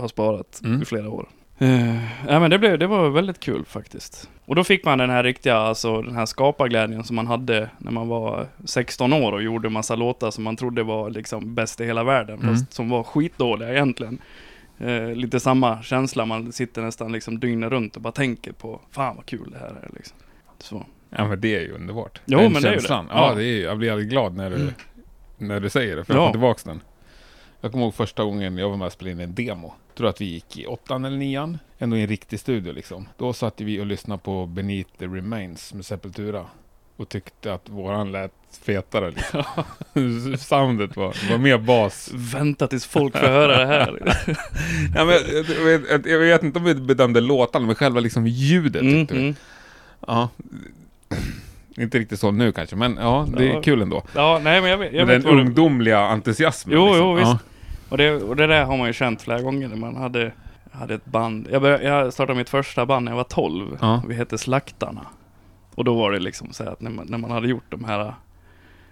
A: har sparat
C: Mm.
A: i flera år. Eh, ja, men det, blev, det var väldigt kul faktiskt. Och då fick man den här riktiga, alltså den här skaparglädjen som man hade när man var 16 år och gjorde massa låtar som man trodde var liksom bäst i hela världen,
C: Mm.
A: fast som var skitdåliga egentligen. Eh, lite samma känsla, man sitter nästan liksom dygnet runt och bara tänker på, fan vad kul det här är liksom. Så.
C: Ja men det är ju underbart.
A: Jo,
C: den
A: men det är ju
C: känslan.
A: det.
C: Ja,
A: Ja.
C: det är ju, jag blir alldeles glad när du, när du säger det, för jag
A: Ja.
C: får tillbaks den. Jag kommer ihåg första gången jag var med och spelade in en demo. Jag tror att vi gick i åttan eller nian, ändå i en riktig studio liksom. Då satt vi och lyssnade på Beneath the Remains med Sepultura och tyckte att våran lät fetare liksom. Soundet var, var mer bas.
A: Vänta tills folk får höra det här.
C: Ja, men, jag, jag, vet- jag vet inte om vi bedömde låtarna, men själva liksom ljudet
A: Mm,
C: tyckte vi.
A: mm.
C: Ja. Inte riktigt så nu kanske, men ja, det är
A: Ja.
C: kul ändå.
A: Ja, nej men jag vet, jag
C: Med
A: vet
C: den
A: vad du...
C: ungdomliga entusiasmen.
A: Jo,
C: liksom.
A: jo, visst.
C: Ja.
A: Och det, och det där har man ju känt flera gånger när man hade, hade ett band. Jag, började, jag startade mitt första band när jag var 12.
C: Ja.
A: Vi hette Slaktarna. Och då var det liksom så här att när man, när man hade gjort de här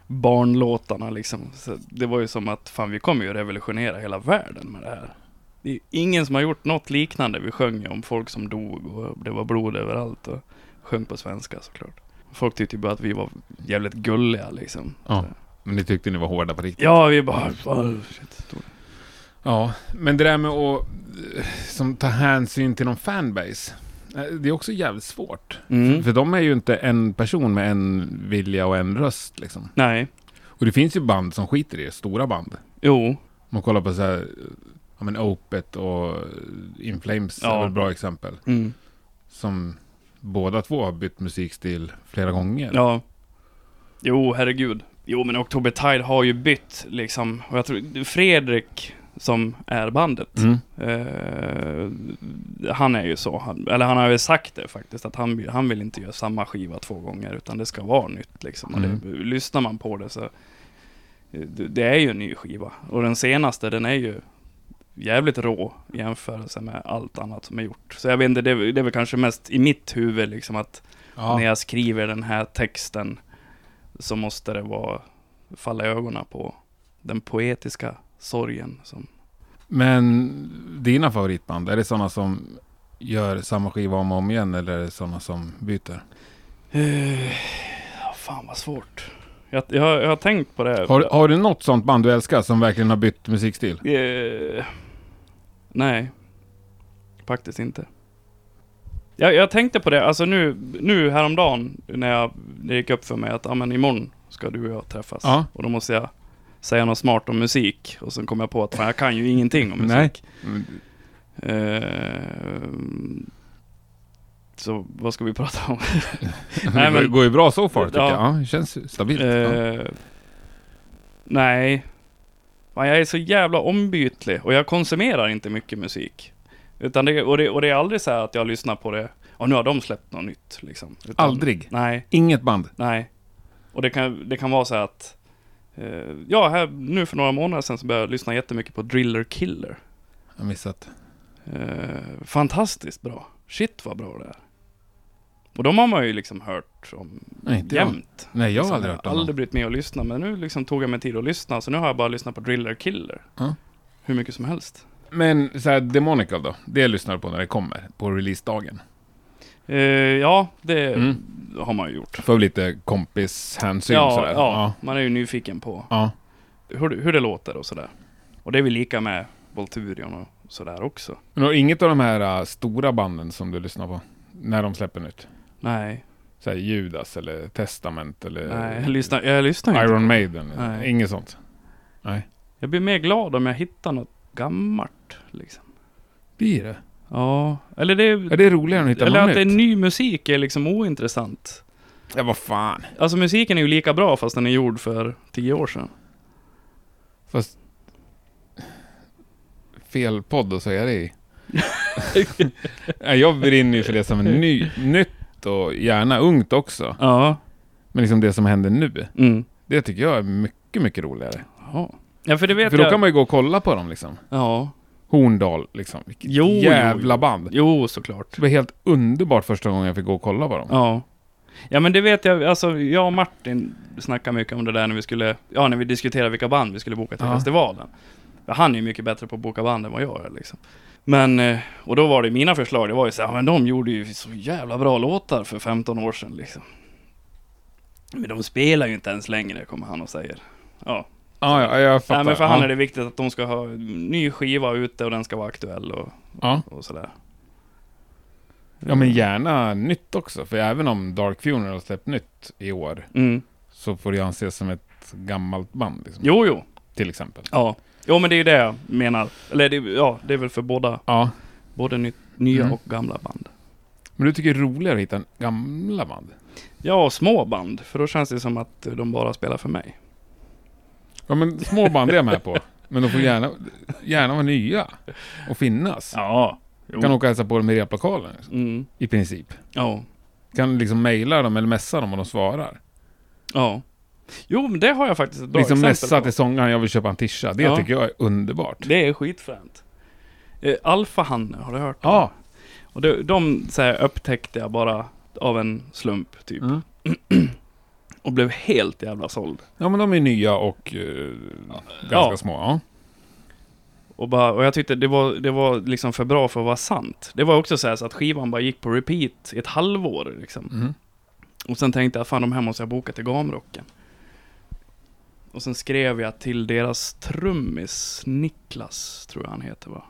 A: barnlåtarna liksom. Så det var ju som att fan vi kommer ju revolutionera hela världen med det här. Det är ju ingen som har gjort något liknande. Vi sjöng ju om folk som dog och det var blod överallt och sjöng på svenska såklart. Folk tyckte ju bara att vi var jävligt gulliga liksom.
C: Ja. Men ni tyckte ni var hårda på riktigt?
A: Ja, vi bara... "Fan, shit."
C: Ja, men det där med att eh, som, ta hänsyn till någon fanbase. eh, Det är också jävligt svårt.
A: Mm.
C: För de är ju inte en person med en vilja och en röst liksom.
A: Nej,
C: Och det finns ju band som skiter i det, stora band.
A: jo,
C: Om man kollar på så här, ja men Opet och In Flames
A: Ja.
C: är väl bra exempel.
A: mm.
C: Som båda två har bytt musikstil flera gånger.
A: ja. Jo, herregud. Jo, men Oktober Tide har ju bytt liksom. Och jag tror Fredrik som är bandet.
C: Mm.
A: Eh, han är ju så, han, eller han har ju sagt det faktiskt, att han, vill- han vill inte göra samma skiva två gånger, utan det ska vara nytt liksom. Och det, lyssnar man på det så, eh, det, det är ju en ny skiva. Och den senaste, den är ju jävligt rå i jämförelse med allt annat som är gjort. Så jag vet inte, det, är- det är väl kanske mest i mitt huvud liksom att när
C: Ja.
A: jag skriver den här texten så måste det vara, falla i ögonen på den poetiska sorgen som
C: Men dina favoritband, är det sådana som gör samma skiva om och om igen eller är det sådana som byter?
A: Eh, Ja, fan vad svårt. Jag, jag, har- jag har tänkt på det. Här.
C: Har, har du något sånt band du älskar som verkligen har bytt musikstil?
A: Eh, nej, faktiskt inte. Jag, jag tänkte på det, alltså nu, nu häromdagen när jag, det gick upp för mig att ah, men imorgon ska du och jag träffas.
C: Ja.
A: Och då måste jag säga något smart om musik. Och sen kom jag på att fan, jag kan ju ingenting om musik.
C: Nej.
A: Ehm, Eh, så vad ska vi prata om?
C: Nej,
A: Nej,
C: men... Det
A: men-
C: går ju bra så far tycker
A: Ja.
C: jag. Ja, det känns stabilt. ja.
A: Eh, nej. Fan, jag är så jävla ombytlig och jag konsumerar inte mycket musik. Utan det, och, det, och det är aldrig så här att jag lyssnar på det, och nu har de släppt något nytt liksom. Utan,
C: Aldrig?
A: Nej,
C: Inget band?
A: nej. Och det kan, det kan vara så här att, eh, ja här nu för några månader sedan så började jag lyssna jättemycket på Driller Killer.
C: Jag har missat.
A: Eh, fantastiskt bra. Shit vad bra det är. Och de har man ju liksom hört om
C: Nej, inte jag.
A: jämt.
C: Nej, jag har
A: Liksom,
C: aldrig hört
A: jag
C: om
A: har aldrig
C: honom.
A: brytt mig att lyssna, men nu liksom tog jag mig tid att lyssna, så nu har jag bara lyssnat på Driller Killer.
C: Ja.
A: Hur mycket som helst.
C: Men så här, Demonical då? Det lyssnar du på när det kommer? På releasedagen?
A: Eh, ja, det
C: Mm.
A: har man ju gjort.
C: För lite kompishänsyn
A: Ja,
C: sådär?
A: ja, man är ju nyfiken på
C: ja.
A: hur, det- hur det låter och sådär. Och det är väl lika med Volturion och sådär också.
C: Men har inget av de här äh, stora banden som du lyssnar på? När de släpper nytt?
A: Nej,
C: Så här Judas eller Testament eller
A: nej jag lyssnar, jag lyssnar ju inte.
C: Iron Maiden?
A: Nej.
C: Inget sånt?
A: Jag blir mer glad om jag hittar något gammalt. Liksom.
C: Blir det?
A: Ja, eller det är...
C: Ja, det är roligare än att hitta
A: Eller
C: något
A: att det är
C: nytt.
A: ny musik är liksom ointressant.
C: Ja, vad fan.
A: Alltså musiken är ju lika bra fast den är gjord för tio år sedan.
C: Fast... Fel podd att säga det i. Nej, jag brinner ju för det som är ny, nytt och gärna ungt också.
A: Ja.
C: Men liksom det som händer nu,
A: Mm.
C: det tycker jag är mycket, mycket roligare.
A: Ja, ja för det vet
C: För då
A: jag.
C: kan man ju gå och kolla på dem liksom.
A: Ja.
C: Horndal liksom. Vilket
A: Jo, jo,
C: jävla band.
A: Jo, såklart.
C: Det var helt underbart första gången jag fick gå och kolla på dem.
A: Ja. Ja men det vet jag, alltså jag och Martin snackade mycket om det där när vi skulle, ja när vi diskuterade vilka band vi skulle boka till
C: Ja.
A: festivalen. Han är ju mycket bättre på att boka band än vad jag är liksom. Men, eh, och då var det mina förslag, det var ju så här, "Ja, men de gjorde ju så jävla bra låtar för 15 år sedan liksom. Men de spelar ju inte ens längre, kommer han och säger. Ja,
C: Ja, ja jag fattar.
A: Nej, men för han
C: ja.
A: är det viktigt att de ska ha ny skiva ute och den ska vara aktuell och,
C: Ja.
A: och sådär.
C: ja, men gärna nytt också. För även om Dark Funeral har släppt nytt i år,
A: Mm.
C: så får det ju anses som ett gammalt band. Liksom,
A: Jo, jo.
C: Till exempel.
A: Ja. Jo, men det är ju det jag menar. Eller det, ja, det är väl för båda,
C: Ja.
A: både ny, nya
C: Mm.
A: och gamla band.
C: Men du tycker det är roligare att hitta gamla band?
A: Ja, och små band. För då känns det som att eh, de bara spelar för mig.
C: Ja, men små band är jag med på. Men de får gärna, gärna vara nya och finnas.
A: Ja. Jo.
C: Kan åka och hälsa på dem i replokalen, liksom,
A: Mm.
C: i princip.
A: Ja.
C: Kan liksom mejla dem eller messa dem och de svarar.
A: Ja. Jo, men det har jag faktiskt ett bra
C: liksom messa
A: exempel på.
C: till sångaren, jag vill köpa en tisha. Det
A: Ja.
C: tycker jag är underbart.
A: Det är skitfränt. Eh, Alfahanne, har du hört?
C: Ja.
A: Och de, de så här, upptäckte jag bara av en slump, typ.
C: Mm.
A: Och blev helt jävla såld.
C: Ja, men de är nya och eh, ganska
A: Ja.
C: små. Ja.
A: Och, bara, och jag tyckte det var, det var liksom för bra för att vara sant. Det var också så, här så att skivan bara gick på repeat i ett halvår liksom.
C: Mm.
A: Och sen tänkte jag, fan de här måste jag boka till Gamrocken. Och sen skrev jag till deras trummis, Niklas tror jag han heter va?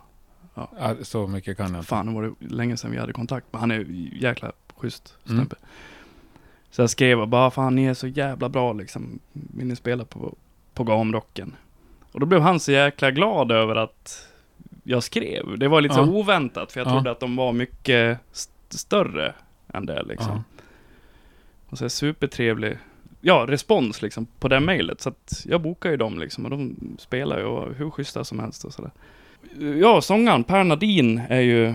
C: Ja, så mycket kan jag inte.
A: Fan, det var det länge sedan vi hade kontakt, men han är ju jäkla schysst
C: Mm.
A: snubbe. Så jag skrev och bara, fan ni är så jävla bra liksom, vill ni spela på, på Gamrocken? Och då blev han så jäkla glad över att jag skrev. Det var lite
C: Ja.
A: så oväntat, för jag
C: Ja.
A: trodde att de var mycket st- större än det liksom.
C: Ja.
A: Och så är supertrevlig, ja respons liksom på det mejlet. Så att jag bokar ju dem liksom och de spelar ju och var hur schyssta som helst och sådär. Ja, sångaren Per Nadin är ju,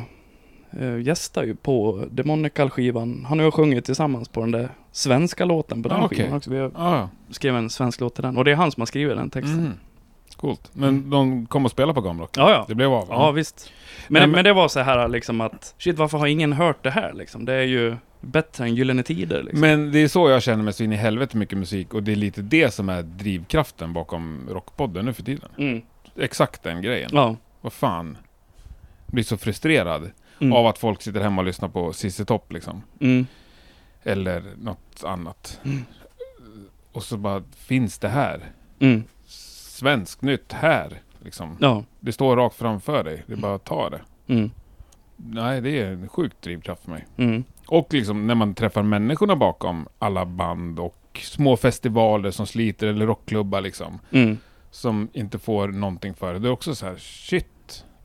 A: eh, gästar ju på Demonical-skivan. Han och jag sjunger tillsammans på den där svenska låten på den
C: Ah, okej.
A: skivan också. Vi har
C: Ja,
A: skrivit en svensk låt till den och det är han som har skrivit den
C: ja.
A: texten.
C: Mm. Coolt. Men de kom och spelade på Gamrock?
A: Mm. Ja, ja.
C: Det blev av?
A: Ja, visst. Men,
C: Mm. Nej, men-
A: men... det var så här liksom att, shit varför har ingen hört det här liksom? Det är ju bättre än Gyllene Tider liksom.
C: Men det är så jag känner mig så in i helvete mycket musik och det är lite det som är drivkraften bakom Rockpodden nu för tiden.
A: Mm.
C: Exakt den grejen.
A: Ja.
C: Vad fan. Jag blir så frustrerad
A: Mm.
C: av att folk sitter hemma och lyssnar på Cissi Topp liksom.
A: Mm.
C: Eller något annat.
A: Mm.
C: Och så bara, finns det här?
A: Mm.
C: Svensk nytt här? Liksom.
A: Ja.
C: Det står rakt framför dig, det är bara att ta det.
A: Mm.
C: Nej, det är en sjukt drivkraft för mig.
A: Mm.
C: Och liksom när man träffar människorna bakom alla band och små festivaler som sliter eller rockklubbar liksom.
A: Mm.
C: Som inte får någonting för det. Det är också så här, shit.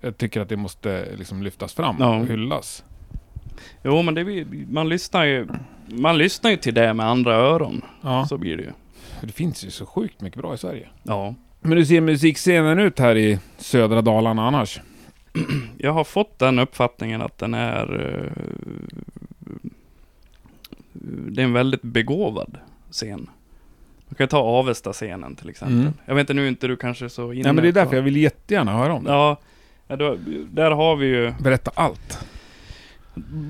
C: Jag tycker att det måste liksom lyftas fram
A: Ja.
C: och hyllas.
A: Jo, men det blir, man lyssnar ju Man lyssnar ju till det med andra öron.
C: Ja.
A: Så blir det ju.
C: Det finns ju så sjukt mycket bra i Sverige.
A: Ja.
C: Men hur ser musikscenen ut här i södra Dalarna annars?
A: Jag har fått den uppfattningen att den är eh, Det är en väldigt begåvad scen. Man kan ta Avesta-scenen till exempel.
C: Mm.
A: Jag vet inte, nu är inte du kanske så inne
C: Nej men det är därför
A: på-
C: jag vill jättegärna höra om det.
A: Ja, ja, då, där har vi ju
C: Berätta allt.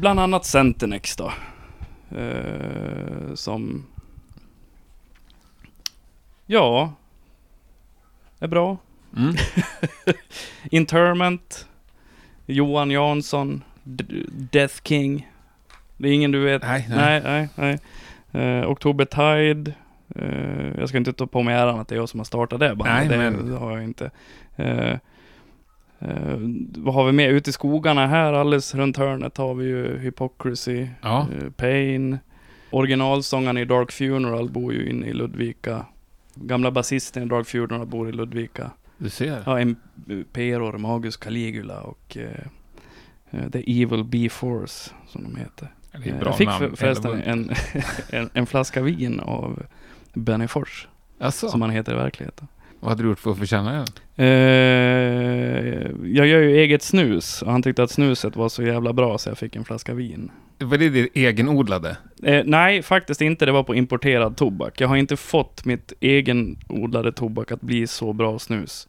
A: Bland annat Centernex då. Eh, som... Ja. Är bra.
C: Mm.
A: Interment. Johan Jansson. D- Death King. Det är ingen du vet.
C: Nej, nej.
A: Nej, nej, nej. Eh, Oktober Tide. Eh, jag ska inte ta på mig äran att det är jag som har startat det bandet.
C: Nej,
A: det,
C: men-
A: det har jag inte. Eh, eh, vad har vi mer? Ute i skogarna här alldeles runt hörnet har vi ju Hypocrisy.
C: Ja.
A: Eh, Pain. Originalsångaren i Dark Funeral bor ju inne i Ludvika. Gamla basisten i Dark Funeral bor i Ludvika.
C: Du ser.
A: Ja, Emperor, Magus Caligula och eh, eh, The Evil B-Force som de heter.
C: Det är
A: Eh,
C: ett bra
A: jag fick
C: namn.
A: för, förresten
C: Elva.
A: en, en, en flaska vin av Benny Fors,
C: Jaså?
A: som han heter i verkligheten.
C: Vad hade du gjort för att förtjäna den?
A: Eh, jag gör ju eget snus och han tyckte att snuset var så jävla bra så jag fick en flaska vin.
C: Var det din egenodlade?
A: Eh, nej, faktiskt inte. Det var på importerad tobak. Jag har inte fått mitt egenodlade tobak att bli så bra snus.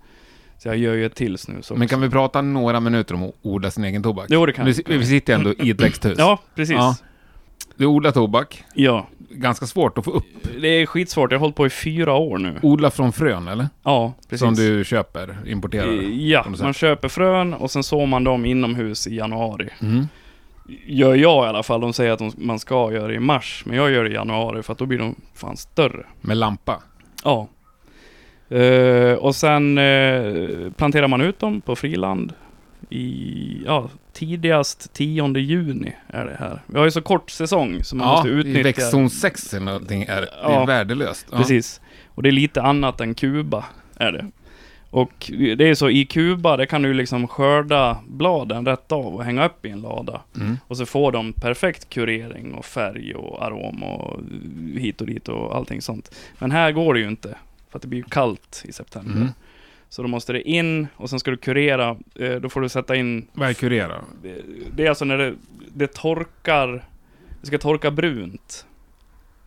A: Så jag gör ju ett till snus också.
C: Men kan vi prata några minuter om att odla sin egen tobak?
A: Jo, det kan
C: vi.
A: vi.
C: Vi sitter ändå i ett växthus.
A: Ja, precis.
C: Ja.
A: Ja.
C: Du odlar tobak. Ganska svårt att få upp.
A: Det är skitsvårt. Jag har hållit på i fyra år nu.
C: Odla från frön, eller?
A: Ja, precis.
C: Som du köper, importerar.
A: Eh, Ja,
C: på något sätt.
A: man köper frön och sen sår man dem inomhus i januari.
C: Mm.
A: Gör jag i alla fall. De säger att de, man ska göra det i mars, men jag gör det i januari för att då blir de fan större.
C: Med lampa.
A: Ja. Eh, och sen eh, planterar man ut dem på friland i, ja, tidigast 10 juni är det här. Vi har ju så kort säsong så man
C: ja,
A: måste
C: i
A: utnyttja.
C: växtzon 6 eller någonting är det är
A: Ja.
C: värdelöst. Ja.
A: Precis. Och det är lite annat än Kuba, är det. Och det är så, i Kuba, där kan du liksom skörda bladen rätt av och hänga upp i en lada.
C: Mm.
A: Och så får de perfekt kurering och färg och arom och hit och dit och allting sånt. Men här går det ju inte, för att det blir ju kallt i september.
C: Mm.
A: Så då måste det in och sen ska du kurera. Eh, Då får du sätta in...
C: Vad är kurera?
A: Det är alltså när det, det torkar... Det ska torka brunt.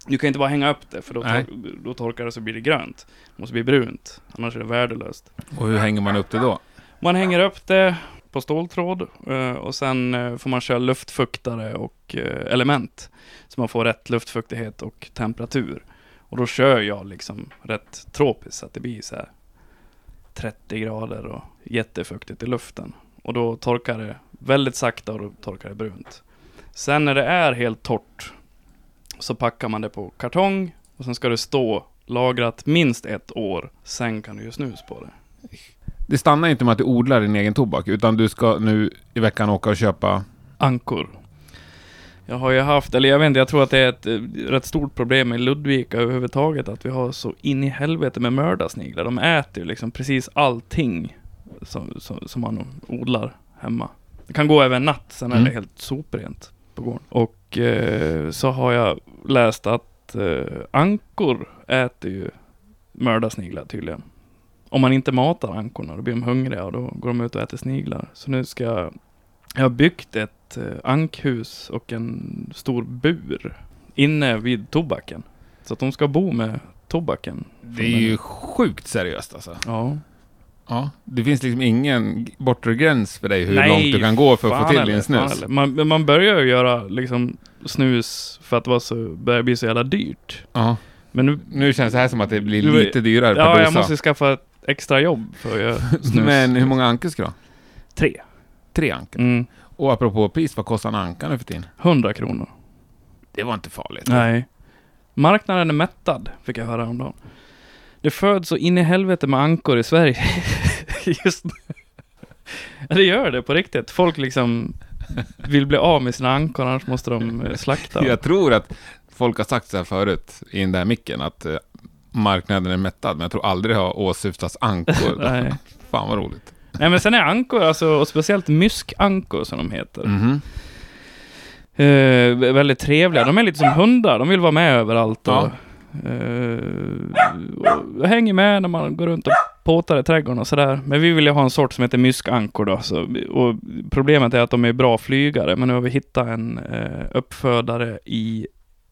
A: Du kan inte bara hänga upp det för då,
C: Nej.
A: tor- då torkar det så blir det grönt. Det måste bli brunt, annars är det värdelöst.
C: Och hur hänger man upp det då?
A: Man hänger upp det på ståltråd eh, och sen eh, får man köra luftfuktare och eh, element. Så man får rätt luftfuktighet och temperatur. Och då kör jag liksom rätt tropiskt så att det blir så här 30 grader och jättefuktigt i luften. Och då torkar det väldigt sakta och då torkar det brunt. Sen när det är helt torrt så packar man det på kartong och sen ska det stå lagrat minst ett år. Sen kan du ju snus på det.
C: Det stannar inte med att du odlar din egen tobak, utan du ska nu i veckan åka och köpa...
A: ankor. Jag har ju haft, eller jag vet inte, jag tror att det är ett eh, rätt stort problem i Ludvika överhuvudtaget att vi har så in i helvete med mördarsniglar. De äter ju liksom precis allting som, som, som man odlar hemma. Det kan gå över en natt, sen är
C: Mm.
A: det helt soprent på gården. Och eh, så har jag läst att eh, ankor äter ju mördarsniglar tydligen. Om man inte matar ankorna, då blir de hungriga och då går de ut och äter sniglar. Så nu ska jag... Jag har byggt ett eh, ankhus och en stor bur inne vid tobaken. Så att de ska bo med tobaken.
C: Det är ju sjukt seriöst alltså.
A: Ja.
C: Ja, det finns liksom ingen g- bortre gräns för dig hur
A: Nej,
C: långt du kan gå för att
A: Fan
C: få till
A: eller,
C: din
A: fan
C: snus.
A: eller. Man, men man börjar ju göra liksom snus för att det var så, börjar bli så jävla dyrt.
C: Ja,
A: Men nu...
C: nu känns det här som att det blir
A: Du-
C: lite dyrare per
A: Ja,
C: dosa.
A: jag måste skaffa ett extra jobb för att göra snus.
C: Men hur många ankor ska du ha?
A: Tre.
C: Tre ankor.
A: Mm.
C: Och apropå pris, vad kostar en anka nu för tiden?
A: 100 kronor.
C: Det var inte farligt.
A: Nej. Marknaden är mättad, fick jag höra häromdagen. Det föds så in i helvete med ankor i Sverige just nu. Ja, det gör det på riktigt. Folk liksom vill bli av med sina ankor, annars måste de eh, slakta. dem.
C: Jag tror att folk har sagt så här förut i den där micken att eh, marknaden är mättad, men jag tror aldrig det har åsyftats ankor.
A: Nej.
C: Fan vad roligt.
A: Nej, men sen är ankor, alltså, och speciellt myskankor som de heter,
C: Mhm.
A: eh, vä- väldigt trevliga. De är lite som hundar, de vill vara med överallt och,
C: Ja.
A: eh, och hänger med när man går runt och påtar i trädgården och sådär. Men vi vill ju ha en sort som heter myskankor då. Så, och problemet är att de är bra flygare, men nu har vi hittat en eh, uppfödare i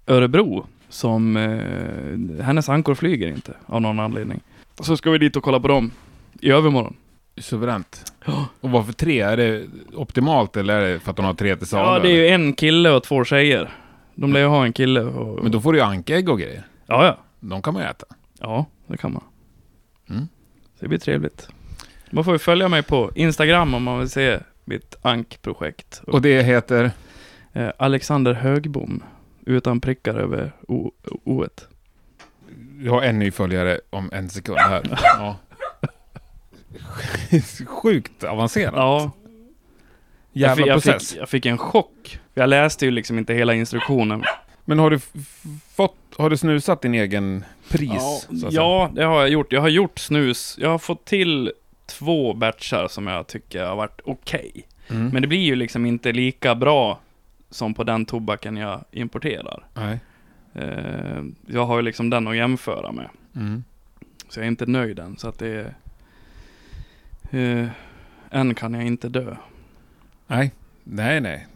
A: Örebro som, eh, hennes ankor flyger inte av någon anledning. Så ska vi dit och kolla på dem i övermorgon.
C: Suveränt.
A: Ja.
C: Och varför tre? Är det optimalt eller är det för att de har tre till salu?
A: Ja, det är ju en kille och två tjejer. De lär ju ha en kille och...
C: Men då får du ju ankägg och grejer.
A: Ja, ja.
C: De kan man ju äta.
A: Ja, det kan man.
C: Mm.
A: Så det blir trevligt. Man får ju följa mig på Instagram om man vill se mitt ankprojekt. Och,
C: Och det heter?
A: eh, Alexander Högbom, utan prickar över o- o-et.
C: Jag har en ny följare om en sekund här. Ja. Sjukt avancerat.
A: Ja, jag
C: Jävla
A: fick, jag,
C: process.
A: fick, jag fick en chock. Jag läste ju liksom inte hela instruktionen.
C: Men har du f- f- fått, har du snusat din egen pris? så att säga?
A: ja, det har jag gjort. Jag har gjort snus. Jag har fått till två batchar som jag tycker har varit okej.
C: Mm.
A: Men det blir ju liksom inte lika bra som på den tobaken jag importerar.
C: Nej.
A: Eh, jag har ju liksom den att jämföra med.
C: Mm.
A: Så jag är inte nöjd än. Så att det är... Eh, än kan jag inte dö.
C: Nej. Nej, nej.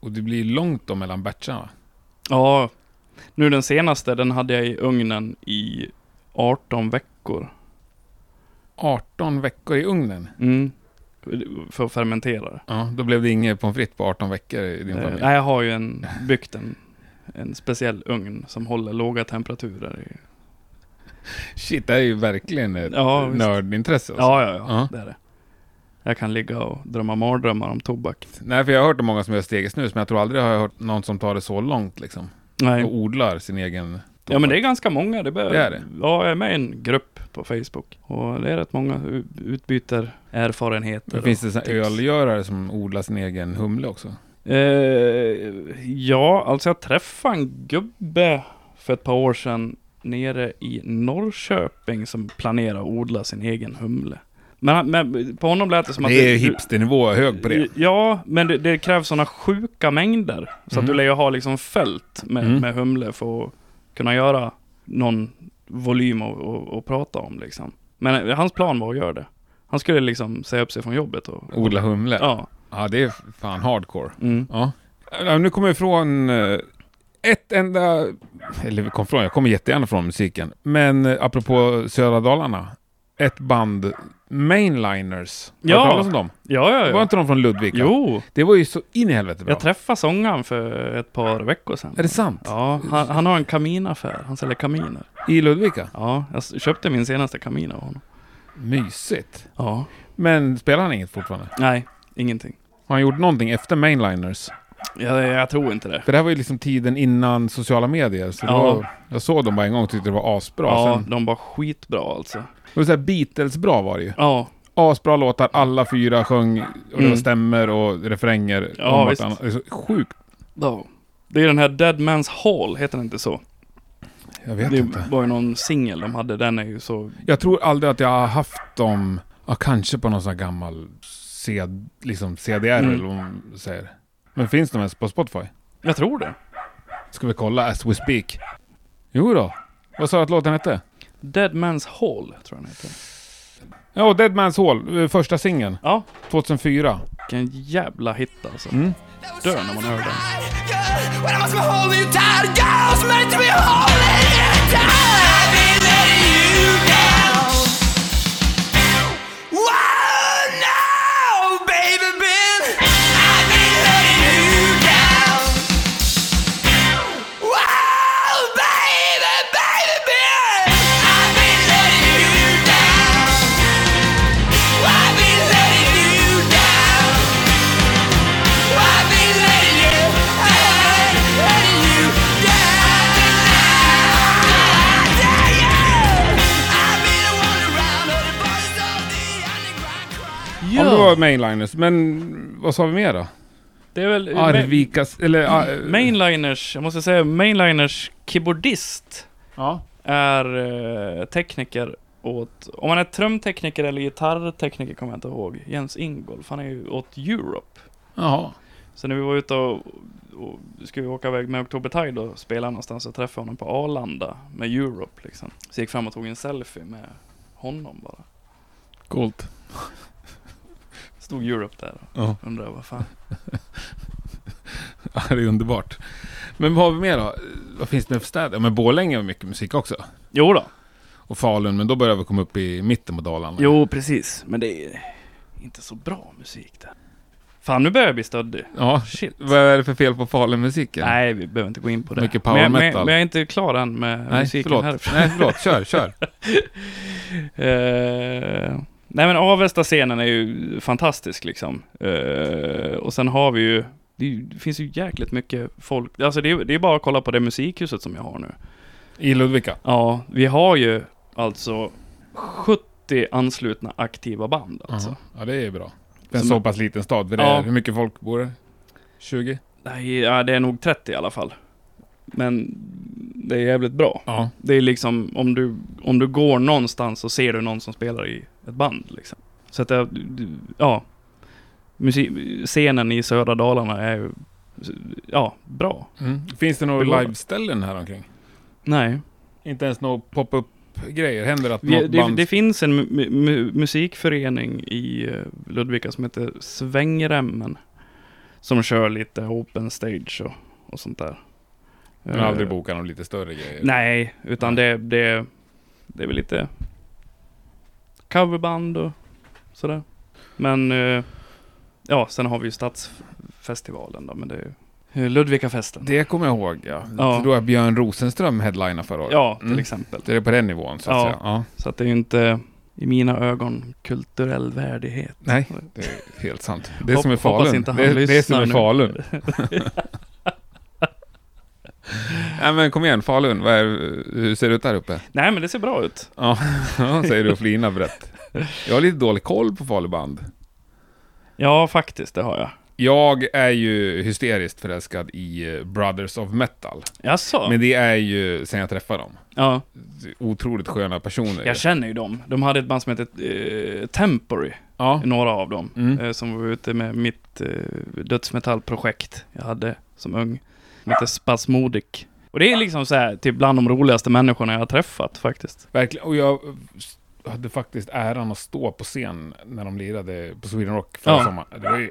C: Och det blir långt då mellan batcharna.
A: Ja, nu den senaste, den hade jag i ugnen i 18 veckor.
C: 18 veckor i ugnen.
A: Mm. För att fermentera det.
C: Ja, då blev det inget pommes frites på 18 veckor i din
A: Eh,
C: familj.
A: nej, jag har ju en, byggt en, en speciell ugn som håller låga temperaturer. i-
C: Shit, det här är ju verkligen ett
A: Ja, visst.
C: nördintresse. alltså.
A: Ja, ja, ja,
C: Ja.
A: det är det. Jag kan ligga och drömma mardrömmar om tobak.
C: Nej, för jag har hört om många som gör stegesnus, men jag tror aldrig jag har hört någon som tar det så långt liksom. Och
A: Nej.
C: odlar sin egen...
A: Ja men det är ganska många. Det, bör,
C: Det är det.
A: Ja, jag är med i en grupp på Facebook. Och det är rätt många u- utbyter erfarenheter.
C: Men
A: och
C: finns det så här
A: tips.
C: ölgörare som odlar sin egen humle också?
A: Eh, ja, alltså jag träffade en gubbe för ett par år sedan nere i Norrköping som planerar att odla sin egen humle. Men, han- men på honom lät det som att...
C: Det är
A: du-
C: ju hipsternivå hög på det.
A: Ja, men det, det krävs sådana sjuka mängder. Så att
C: Mhm.
A: du lär ju ha liksom fält med,
C: Mm.
A: med humle för att kunna göra någon volym att- att att prata om liksom. Men eh, hans plan var att göra det. Han skulle liksom säga upp sig från jobbet och...
C: Odla humle. Oh, Ja.
A: Ja.
C: det är fan hardcore.
A: Mm.
C: Ja. Ja, Nu kommer jag ifrån eh, ett enda... Eller vi kom från, jag kommer jättegärna från musiken. Men eh, apropå södra Dalarna. Ett band, Mainliners. Har du
A: Ja.
C: hört talas om dem?
A: Ja, ja,
C: Var
A: ja.
C: inte de från Ludvika?
A: Jo,
C: Det var ju så in i helvete bra.
A: jag träffade sångaren för ett par veckor sedan.
C: Är det sant?
A: Ja, han, han har en kaminaffär. Han säljer kaminer.
C: I Ludvika?
A: Ja, jag s- köpte min senaste kamin av honom.
C: Mysigt.
A: Ja.
C: Men spelar han inget fortfarande?
A: Nej, ingenting.
C: Har han gjort någonting efter Mainliners?
A: Jag, jag tror inte det.
C: För det här var ju liksom tiden innan sociala medier. Så det
A: Ja.
C: var, jag såg dem bara en gång och tyckte det var asbra.
A: ja,
C: Sen,
A: de var skitbra alltså.
C: det var så här Beatles-bra var det ju.
A: Ja,
C: Asbra låtar, alla fyra sjöng och det var
A: Mm.
C: stämmer och refränger.
A: Ja,
C: om
A: visst.
C: vartannat. Det är så sjukt.
A: ja. Det är den här Dead Man's Hall, heter den inte så?
C: Jag vet
A: det
C: inte.
A: var ju någon singel de hade, den är ju så...
C: Jag tror aldrig att jag har haft dem, ja, kanske på någon sån här gammal C, liksom CDR
A: Mm.
C: eller vad man säger. Men finns de ens på Spotify?
A: Jag tror det.
C: Ska vi kolla as we speak? Jo då. Vad sa du att låten hette?
A: Dead Man's Hall, tror jag den heter.
C: Ja, Dead Man's Hall, eh, första singeln.
A: Ja,
C: 2004.
A: vilken jävla hit alltså.
C: Mm.
A: Dör när man hör den.
D: When I was my holy tired, God was meant to be holy tired. I've been letting you down. Wow, now, baby, been. I've been letting you down. Wow, baby, baby, been. I've been letting you down. I've been letting you down. I've been letting you, I've been letting you down. Down, yeah. I've been wandering around all the bars of the underground crowd.
C: Ja, Eh, men det var Mainliners. Men vad sa vi mer då?
A: Det är väl...
C: Arvikas... Eller... ah, eh,
A: Mainliners, jag måste säga Mainliners keyboardist
C: Ja.
A: är eh, tekniker åt, om han är trumtekniker eller gitarrtekniker kommer jag inte ihåg, Jens Ingolf, han är ju åt Europe.
C: Jaha.
A: Så när vi var ute och, och skulle vi åka iväg med Oktober Tide och spela någonstans så träffade jag honom på Arlanda med Europe liksom. Så jag gick fram och tog en selfie med honom bara.
C: Coolt.
A: Stod Europe där och
C: Ja,
A: undrade vad fan.
C: det är underbart. Men vad har vi mer då? Eh, Vad finns det mer för städer? Ja, men Borlänge har mycket musik också.
A: Jo då.
C: Och Falun, men då börjar vi
A: Mm.
C: komma upp i mitten på Dalarna.
A: Jo precis, men det är inte så bra musik där. Fan, nu börjar jag bli stöddig.
C: Ja,
A: Shit.
C: vad är det för fel på Falun-musiken?
A: Nej, vi behöver inte gå in på det.
C: Mycket power
A: men, jag- men,
C: metal.
A: men jag är inte klar än med
C: Nej,
A: musiken
C: förlåt.
A: härifrån.
C: Nej, förlåt. Kör, kör.
A: Eh, nej men Avesta-scenen är ju fantastisk liksom. Eh, och sen har vi ju, det, är ju- det finns ju jäkligt mycket folk. Alltså det, är- det är bara att kolla på det musikhuset som jag har nu.
C: I Ludvika.
A: Ja, vi har ju alltså 70 anslutna aktiva band alltså.
C: Alltså. Ja, det är bra. För en
A: Som-
C: så pass liten stad. För det
A: Ja.
C: är, hur mycket folk bor det? 20?
A: Nej, ja, det är nog 30 i alla fall. Men det är jävligt bra.
C: Ja.
A: Det är liksom om du, om du går någonstans så ser du någon som spelar i ett band liksom. Så att jag, ja. Musi- scenen i södra Dalarna är ju, ja, bra.
C: Mm. Finns det några
A: Begåvat.
C: liveställen här omkring?
A: Nej.
C: Inte ens några pop-up-grejer? Händer det att
A: Vi,
C: något
A: det,
C: band...
A: det finns en mu- mu- musikförening i eh, Ludvika som heter Svängremmen. Som kör lite open stage och, och sånt där.
C: Men
A: Eh,
C: aldrig bokar de lite större grejer?
A: Nej, utan det, det, det är väl lite coverband och sådär. Men eh, ja, sen har vi ju Stadsfestivalen då, men det är ju eh, Ludvikafesten.
C: Det kommer jag ihåg, ja.
A: Ja.
C: ja. Då är Björn Rosenström headliner förra året.
A: Ja, till
C: Mm.
A: exempel.
C: Det är på den nivån, så att
A: Ja.
C: säga. Ja.
A: Så att det är ju inte i mina ögon kulturell värdighet.
C: Nej, det är helt sant. Det är
A: Hopp-
C: som är
A: hoppas
C: Falun.
A: inte han
C: det, är- det är som
A: lyssnar
C: är
A: nu.
C: Falun. Nej men kom igen, Falun. Vad är, hur ser det ut där uppe?
A: Nej, men det ser bra ut.
C: Ja, ja, säger du och flinar brett. Jag har lite dålig koll på Falu band.
A: Ja, faktiskt, det har jag.
C: Jag är ju hysteriskt förälskad i eh, Brothers of Metal.
A: Jaså?
C: Men det är ju sen jag träffade dem.
A: Ja,
C: Otroligt sköna personer.
A: jag känner ju dem. De hade ett band som hette eh, Temporary.
C: ja.
A: några av dem,
C: Mm.
A: eh, som var ute med mitt eh, dödsmetallprojekt jag hade som ung. Som heter Spasmodic. Och det är liksom så här, typ bland de roligaste människorna jag har träffat faktiskt.
C: Verkligen, och jag eh, hade faktiskt äran att stå på scen när de lirade på Sweden Rock förra
A: Ja.
C: sommaren. Det var ju,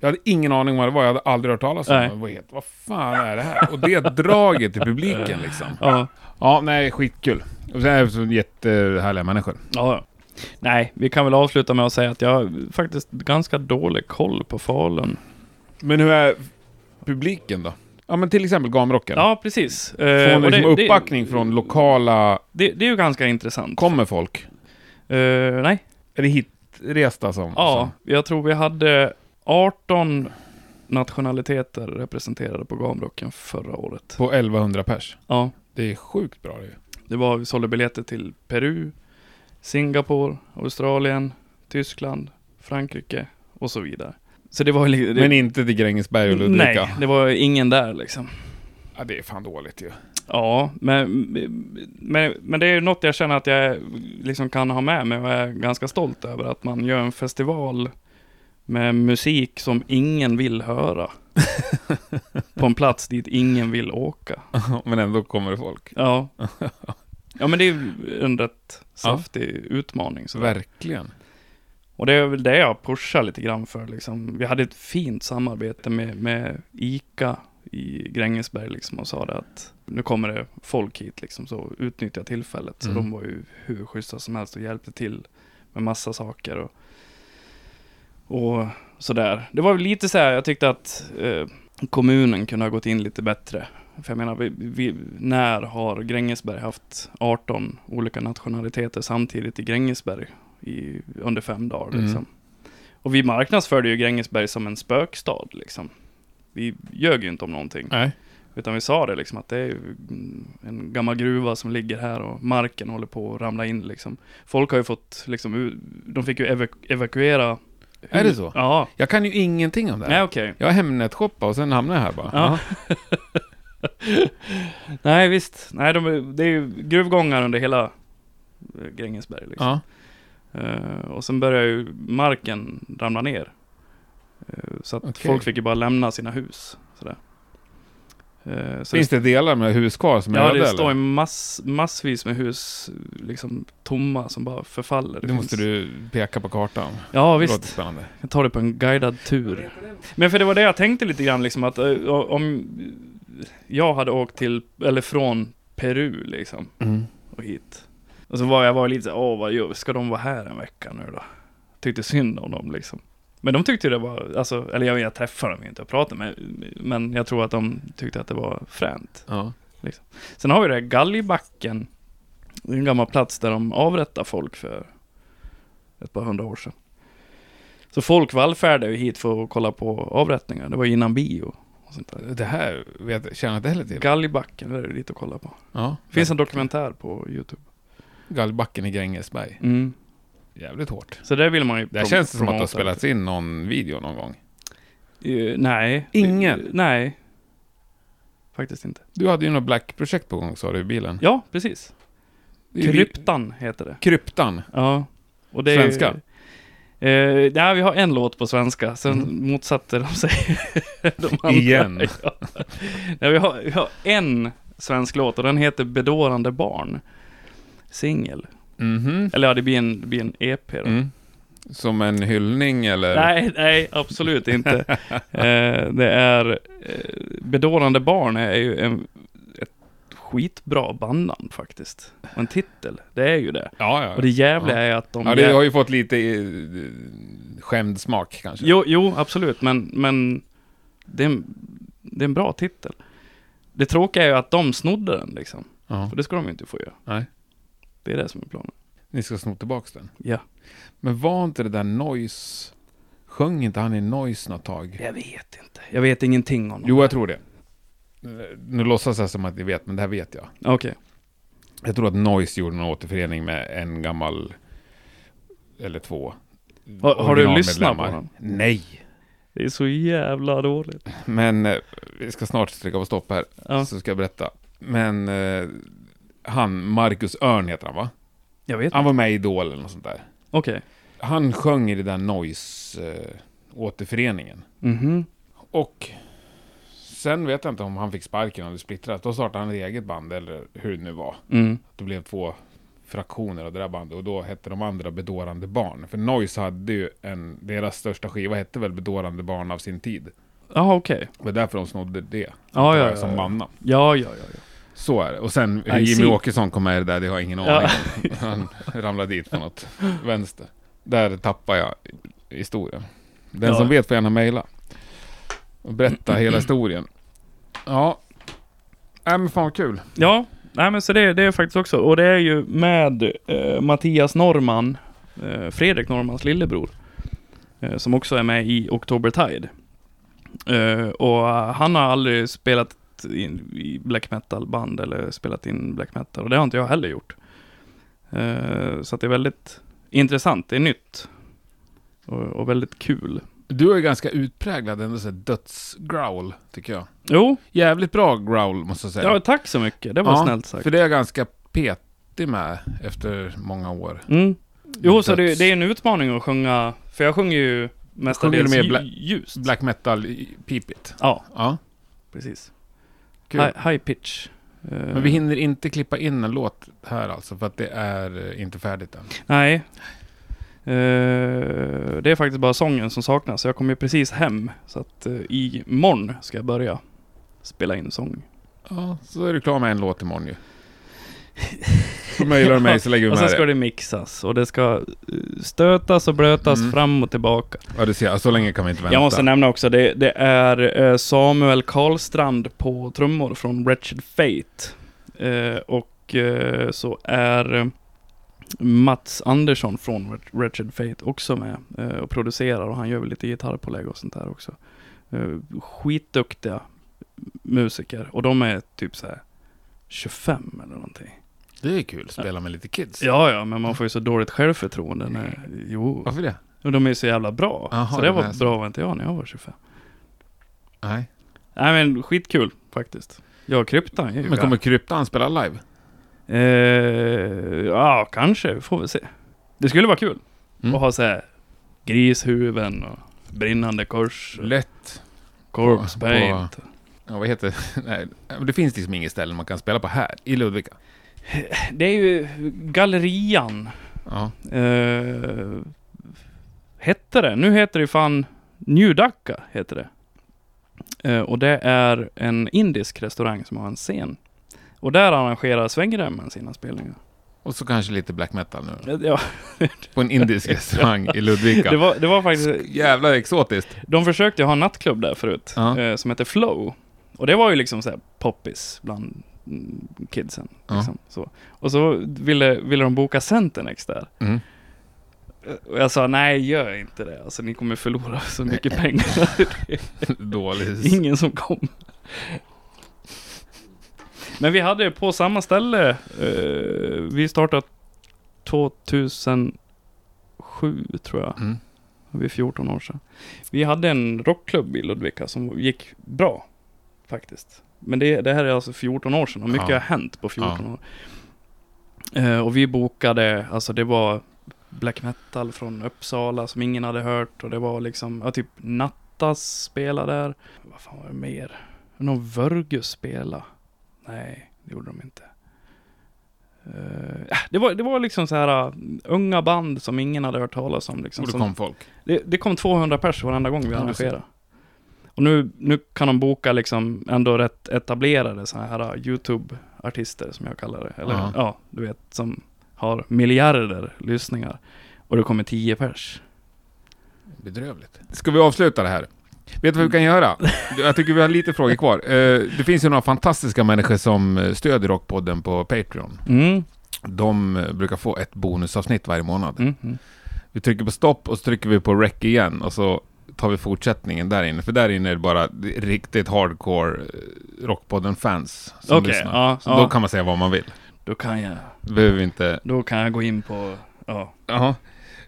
C: jag hade ingen aning om vad det var, jag hade aldrig hört talas om
A: Nej.
C: det. Det var helt, vad fan är det här? Och det draget i publiken liksom.
A: Ja,
C: Ja, nej, skitkul. Och sen är det så jättehärliga människor.
A: ja. Nej, vi kan väl avsluta med att säga att jag har faktiskt ganska dålig koll på Falun.
C: Men hur är publiken då? Ja, men till exempel Gamrocken.
A: Ja, precis. Eh,
C: Får
A: och
C: ni liksom
A: det,
C: uppbackning från lokala...
A: Det, det är ju ganska intressant.
C: Kommer folk?
A: Eh, nej,
C: Är det hitresta som...
A: Ja, jag tror vi hade 18 nationaliteter representerade på Gamrocken förra året.
C: Som, på 1100 pers.
A: Ja,
C: Det är sjukt bra det.
A: det var, vi sålde biljetter till Peru, Singapore, Australien, Tyskland, Frankrike och så vidare. Så det var ju... li- Det,
C: Men inte till Grängesberg och Ludvika.
A: nej, det var ingen där liksom.
C: Ja, det är fan dåligt ju.
A: Ja, men, men, men det är ju något jag känner att jag liksom kan ha med mig och är ganska stolt över att man gör en festival med musik som ingen vill höra. på en plats dit ingen vill åka.
C: Men ändå kommer det folk.
A: Ja. Ja men det är ju en rätt saftig utmaning. Så
C: Verkligen.
A: och det är väl det jag pushar lite grann för liksom. Vi hade ett fint samarbete med, med ICA i Grängesberg liksom och sa det att nu kommer det folk hit liksom så utnyttja tillfället. Så
C: Mm.
A: de var ju hur schyssta som helst och hjälpte till med massa saker och, och sådär. Det var väl lite så här, jag tyckte att eh, kommunen kunde ha gått in lite bättre. För jag menar, vi, vi, när har Grängesberg haft 18 olika nationaliteter samtidigt i Grängesberg i, under fem dagar?
C: Mm.
A: Liksom. Och vi marknadsförde ju Grängesberg som en spökstad. Liksom. Vi ljög ju inte om någonting.
C: Nej.
A: Utan vi sa det liksom att det är ju, mm, en gammal gruva som ligger här och marken håller på att ramla in liksom. Folk har ju fått liksom, u- de fick ju evaku- evakuera.
C: Är det så?
A: Ja.
C: Jag kan ju ingenting om det här.
A: Nej okej.
C: Jag Hemnet-shoppade och sen hamnade jag här bara.
A: Ja. Nej visst. Nej de, det är ju gruvgångar under hela eh, Grängesberg liksom.
C: Ja.
A: Eh, och sen började ju marken ramla ner. Eh, så att
C: Okej.
A: folk fick ju bara lämna sina hus. Sådär. Eh, så
C: Finns det delar med hus kvar som är
A: Ja,
C: öde,
A: det står ju
C: eller?
A: mass, massvis med hus liksom tomma som bara förfaller.
C: Det måste
A: finns-
C: du peka på kartan.
A: Ja,
C: Det låter
A: visst.
C: spännande.
A: Jag tar det på en guidad tur. Men för det var det jag tänkte lite grann liksom att eh, om jag hade åkt till, eller från Peru liksom och hit. Och så var jag var lite såhär, åh vad gör, ska de vara här en vecka nu då? Tyckte synd om dem liksom. Men de tyckte det var, alltså, eller jag, jag träffade dem ju inte och pratade med, men jag tror att de tyckte att det var fränt.
C: Ja.
A: Sen har vi det här Galgbacken, det är en gammal plats där de avrättar folk för ett par hundra år sedan. Så folk vallfärdade ju hit för att kolla på avrättningar, det var ju innan bio och sånt där.
C: Det här vet, känner jag inte heller till.
A: Galgbacken, det är det lite att kolla på.
C: Ja.
A: Det finns en dokumentär på Youtube.
C: Gallbacken i Grängesberg.
A: Mm.
C: Jävligt hårt.
A: Så det vill man ju
C: Det här
A: prom-
C: känns det som att det har
A: promota.
C: spelats in någon video någon gång.
A: Eh, nej. Eh,
C: Ingen?
A: nej. Faktiskt inte.
C: Du hade ju något Black-projekt på gång sa du i bilen.
A: Ja, precis.
C: Det är ju vi-
A: Kryptan heter det.
C: Kryptan.
A: Ja. Och det är-
C: Svenska?
A: Eh, nej, vi har en låt på svenska, sen motsatte de sig de andra.
C: Mm. Igen.
A: Ja. Nej, vi, har, vi har en svensk låt och den heter Bedårande barn. Singel.
C: Mhm.
A: Eller ja, det blir en, det blir en EP då.
C: Mm. Som en hyllning eller?
A: Nej, nej, absolut inte. eh, det är... Eh, Bedårande barn är ju en, ett skitbra bandnamn faktiskt. Och en titel, det är ju det.
C: Ja, ja.
A: Och det jävliga är att de...
C: ja, det har ju fått lite eh, skämd smak kanske.
A: jo, jo, absolut, men, men det, är en, det är en bra titel. Det tråkiga är ju att de snodde den liksom.
C: Ja.
A: För det ska de ju inte få göra.
C: Nej.
A: Det är det som är planen.
C: Ni ska sno tillbaks den.
A: Ja.
C: Men var inte det där Noise... Sjöng inte han i Noise något tag?
A: Jag vet inte. Jag vet ingenting om dem.
C: Jo, jag tror det. Nu låtsas jag som att ni vet, men det här vet jag.
A: Okej.
C: Jag tror att Noise gjorde en återförening med en gammal... Eller två.
A: Har, har du lyssnat på
C: originalmedlemmar.
A: den?
C: Nej.
A: Det är så jävla dåligt.
C: Men eh, vi ska snart trycka på stopp här.
A: Ja.
C: Så ska jag berätta. Men eh, han, Marcus Örn heter han va?
A: Jag vet
C: Han
A: inte.
C: var med i Idol eller något sånt där.
A: Okej.
C: Han sjöng i det där Noise-återföreningen.
A: Mhm.
C: Och sen vet jag inte om han fick sparken eller splittrat. Då startade han ett eget band eller hur det nu var.
A: Mm.
C: Det blev två fraktioner av det där bandet och då hette de andra Bedårande Barn. För Noise hade ju en, deras största skiva hette väl Bedårande Barn av sin tid.
A: Jaha, okej.
C: Det var därför de snodde det.
A: Ja, ja,
C: Som
A: ja.
C: bandnamn.
A: Ja, ja, ja. ja.
C: Så är det. Och sen hur
A: I
C: Jimmy
A: see.
C: Åkesson kom med i det där, det har jag ingen
A: Ja.
C: aning om. Han ramlade dit på något vänster. Där tappar jag historien. Den
A: Ja.
C: som vet får gärna mejla. Och berätta hela historien. Ja. Nej men fan vad kul.
A: Ja, nej men så det, det är faktiskt också. Och det är ju med eh, Mattias Norman, eh, Fredrik Normans lillebror, eh, som också är med i October Tide. Eh, och eh, han har aldrig spelat in i black metal band eller spelat in black metal och det har inte jag heller gjort. Eh, så att det är väldigt intressant, det är nytt. Och, och väldigt kul.
C: Du är ganska utpräglad ändå såhär dödsgrowl, tycker jag.
A: Jo,
C: Jävligt bra growl måste jag säga.
A: ja, tack så mycket. Det var
C: Ja,
A: snällt sagt.
C: För det är jag ganska petig med efter många år.
A: Mm. Jo, så det,
C: Döds-
A: det är en utmaning att sjunga, för jag sjunger ju mestadels
C: Sjunger
A: sjunger
C: du mer bla-
A: ljust.
C: Black metal-pipigt.
A: Ja,
C: Ja,
A: precis.
C: kul.
A: High, high pitch. Eh,
C: Men vi hinner inte klippa in en låt här alltså, för att det är eh, inte färdigt än.
A: Nej. Eh, det är faktiskt bara sången som saknas, så jag kom ju precis hem. Så att uh, imorgon ska jag börja spela in sång.
C: Ja, så är du klar med en låt imorgon ju. Så mejlar du mig så lägger vi
A: Och sen
C: med
A: ska
C: det.
A: det mixas och det ska eh, stötas och blötas
C: Mm.
A: fram och tillbaka.
C: Ja, du ser, ja, så länge kan vi inte vänta.
A: Jag måste nämna också, det, det är eh, Samuel Karlstrand på trummor från Wretched Fate. Eh, och eh, så är eh, Mats Andersson från Wret- Wretched Fate också med eh, och producerar och han gör väl lite gitarrpålägg och sånt där också. Eh, skitduktiga musiker och de är typ så här 25 eller någonting.
C: Det är kul, spela med lite kids.
A: Ja, ja, men man får ju så dåligt självförtroende när, jo,
C: Varför det?
A: och de är ju så jävla bra.
C: Jaha,
A: så det
C: det
A: var
C: menar jag.
A: bra var inte jag när jag var 25.
C: Nej.
A: Nej men skitkul faktiskt. Ja, kryptan är ju
C: Men kommer Kryptan spela live?
A: eh, Ja, kanske. Får vi se. Det skulle vara kul.
C: Mm.
A: Att ha så här grishuvuden och brinnande kors. och
C: Lätt.
A: Corpse
C: på-
A: paint.
C: Ja, vad heter det? Nej, men det finns liksom inget ställe man kan spela på här, i Ludvika.
A: Det är ju Gallerian.
C: Ja.
A: Eh, hette det. Nu heter det fan Njudacka. Heter det. Eh, och det är en indisk restaurang som har en scen. Och där arrangerar Svängremmen sina spelningar.
C: Och så kanske lite black metal nu.
A: Ja,
C: På en indisk restaurang i Ludvika.
A: det, var, det var faktiskt...
C: Jävla exotiskt.
A: De försökte ju ha en nattklubb där förut,
C: Ja.
A: eh, som hette Flow. Och det var ju liksom så här poppis bland mm, kidsen.
C: Ja.
A: Liksom, så. Och så ville, ville de boka Centernex där. Eh,
C: Mm.
A: Och jag sa nej, gör inte det. Alltså ni kommer förlora så mycket pengar.
C: Dåligt.
A: Ingen som kom. Men vi hade på samma ställe, eh, vi startade 2007 tror jag.
C: Mm.
A: Vi är 14 år sedan. Vi hade en rockklubb i Ludvika som gick bra faktiskt. Men det, det här är alltså 14 år sedan och mycket
C: Ja.
A: har hänt på 14 år. Eh, och vi bokade, alltså det var black metal från Uppsala som ingen hade hört och det var liksom, ja typ Nattas spelade där. Vad fan var det mer? Någon Vörgus spela? Nej, det gjorde de inte. Eh, ja, det, var, det var liksom så här uh, unga band som ingen hade hört talas om. Liksom,
C: Och då
A: som-
C: kom folk.
A: det, det kom 200 pers varenda gång vi
C: Ja, du ser.
A: arrangerade. Och nu, nu kan de boka liksom ändå rätt etablerade sådana här uh, YouTube-artister som jag kallar det. Eller
C: Ja.
A: ja, du vet, som har miljarder lyssningar. Och det kommer 10 pers.
C: Bedrövligt. Ska vi avsluta det här? Vet du vad vi kan göra? Jag tycker vi har lite frågor kvar. Eh, Det finns ju några fantastiska människor som eh, stödjer Rockpodden på Patreon.
A: Mm,
C: De eh, brukar få ett bonusavsnitt varje månad.
A: mm, mm.
C: Vi trycker på stopp och så trycker vi på rec igen och så tar vi fortsättningen där inne. För där inne är det bara riktigt hardcore eh, Rockpodden-fans som
A: Okej,
C: lyssnar.
A: ja,
C: Så då
A: ja.
C: kan man säga vad man vill.
A: Då, kan jag,
C: Behöver vi inte...
A: då kan jag gå in på, ja.
C: Jaha.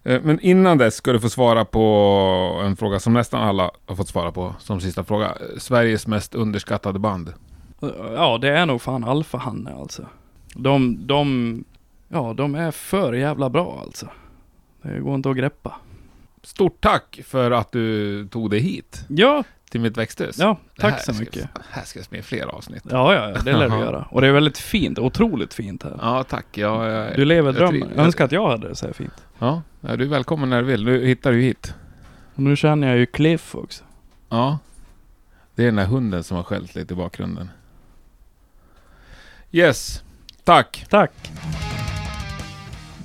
C: Eh, Men innan dess ska du få svara på en fråga som nästan alla har fått svara på som sista fråga. Eh, Sveriges mest underskattade band.
A: Ja, det är nog fan alfahanne alltså. De, de, ja, de är för jävla bra alltså. Det går inte att greppa.
C: Stort tack för att du tog dig hit
A: Ja,
C: till mitt växthus.
A: ja,
C: Det här
A: tack så
C: ska-
A: mycket.
C: Här ska det bli fler avsnitt.
A: Ja, ja, ja, det lär du
C: Jaha.
A: göra. Och det är väldigt fint, otroligt fint här.
C: Ja, tack. Ja, jag,
A: Du lever
C: jag
A: drömmen.
C: triv-
A: Jag önskar att jag hade det så här fint.
C: ja, ja, du är välkommen när du vill. Du hittar du hit.
A: Och nu känner jag ju Cliff också.
C: Ja. Det är den där hunden som har skällt lite i bakgrunden. Yes. Tack.
A: Tack!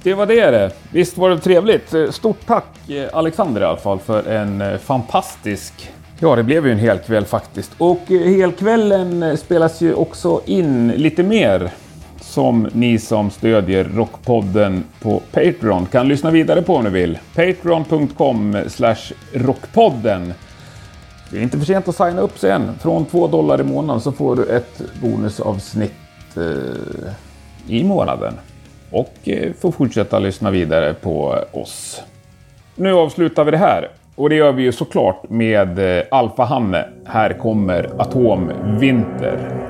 B: Det var det det. Visst var det trevligt. Eh, Stort tack eh, Alexander i alla fall för en eh, fantastisk... Ja, det blev ju en hel kväll faktiskt. Och eh, helkvällen eh, spelas ju också in lite mer som ni som stödjer Rockpodden på Patreon kan lyssna vidare på om ni vill. Patreon.com slash Rockpodden. Det är inte för sent att signa upp sig än. Från 2 dollar i månaden så får du ett bonusavsnitt eh, i månaden och eh, får fortsätta lyssna vidare på oss. Nu avslutar vi det här och det gör vi ju såklart med eh, Alfa Hanne. Här kommer Atomvinter.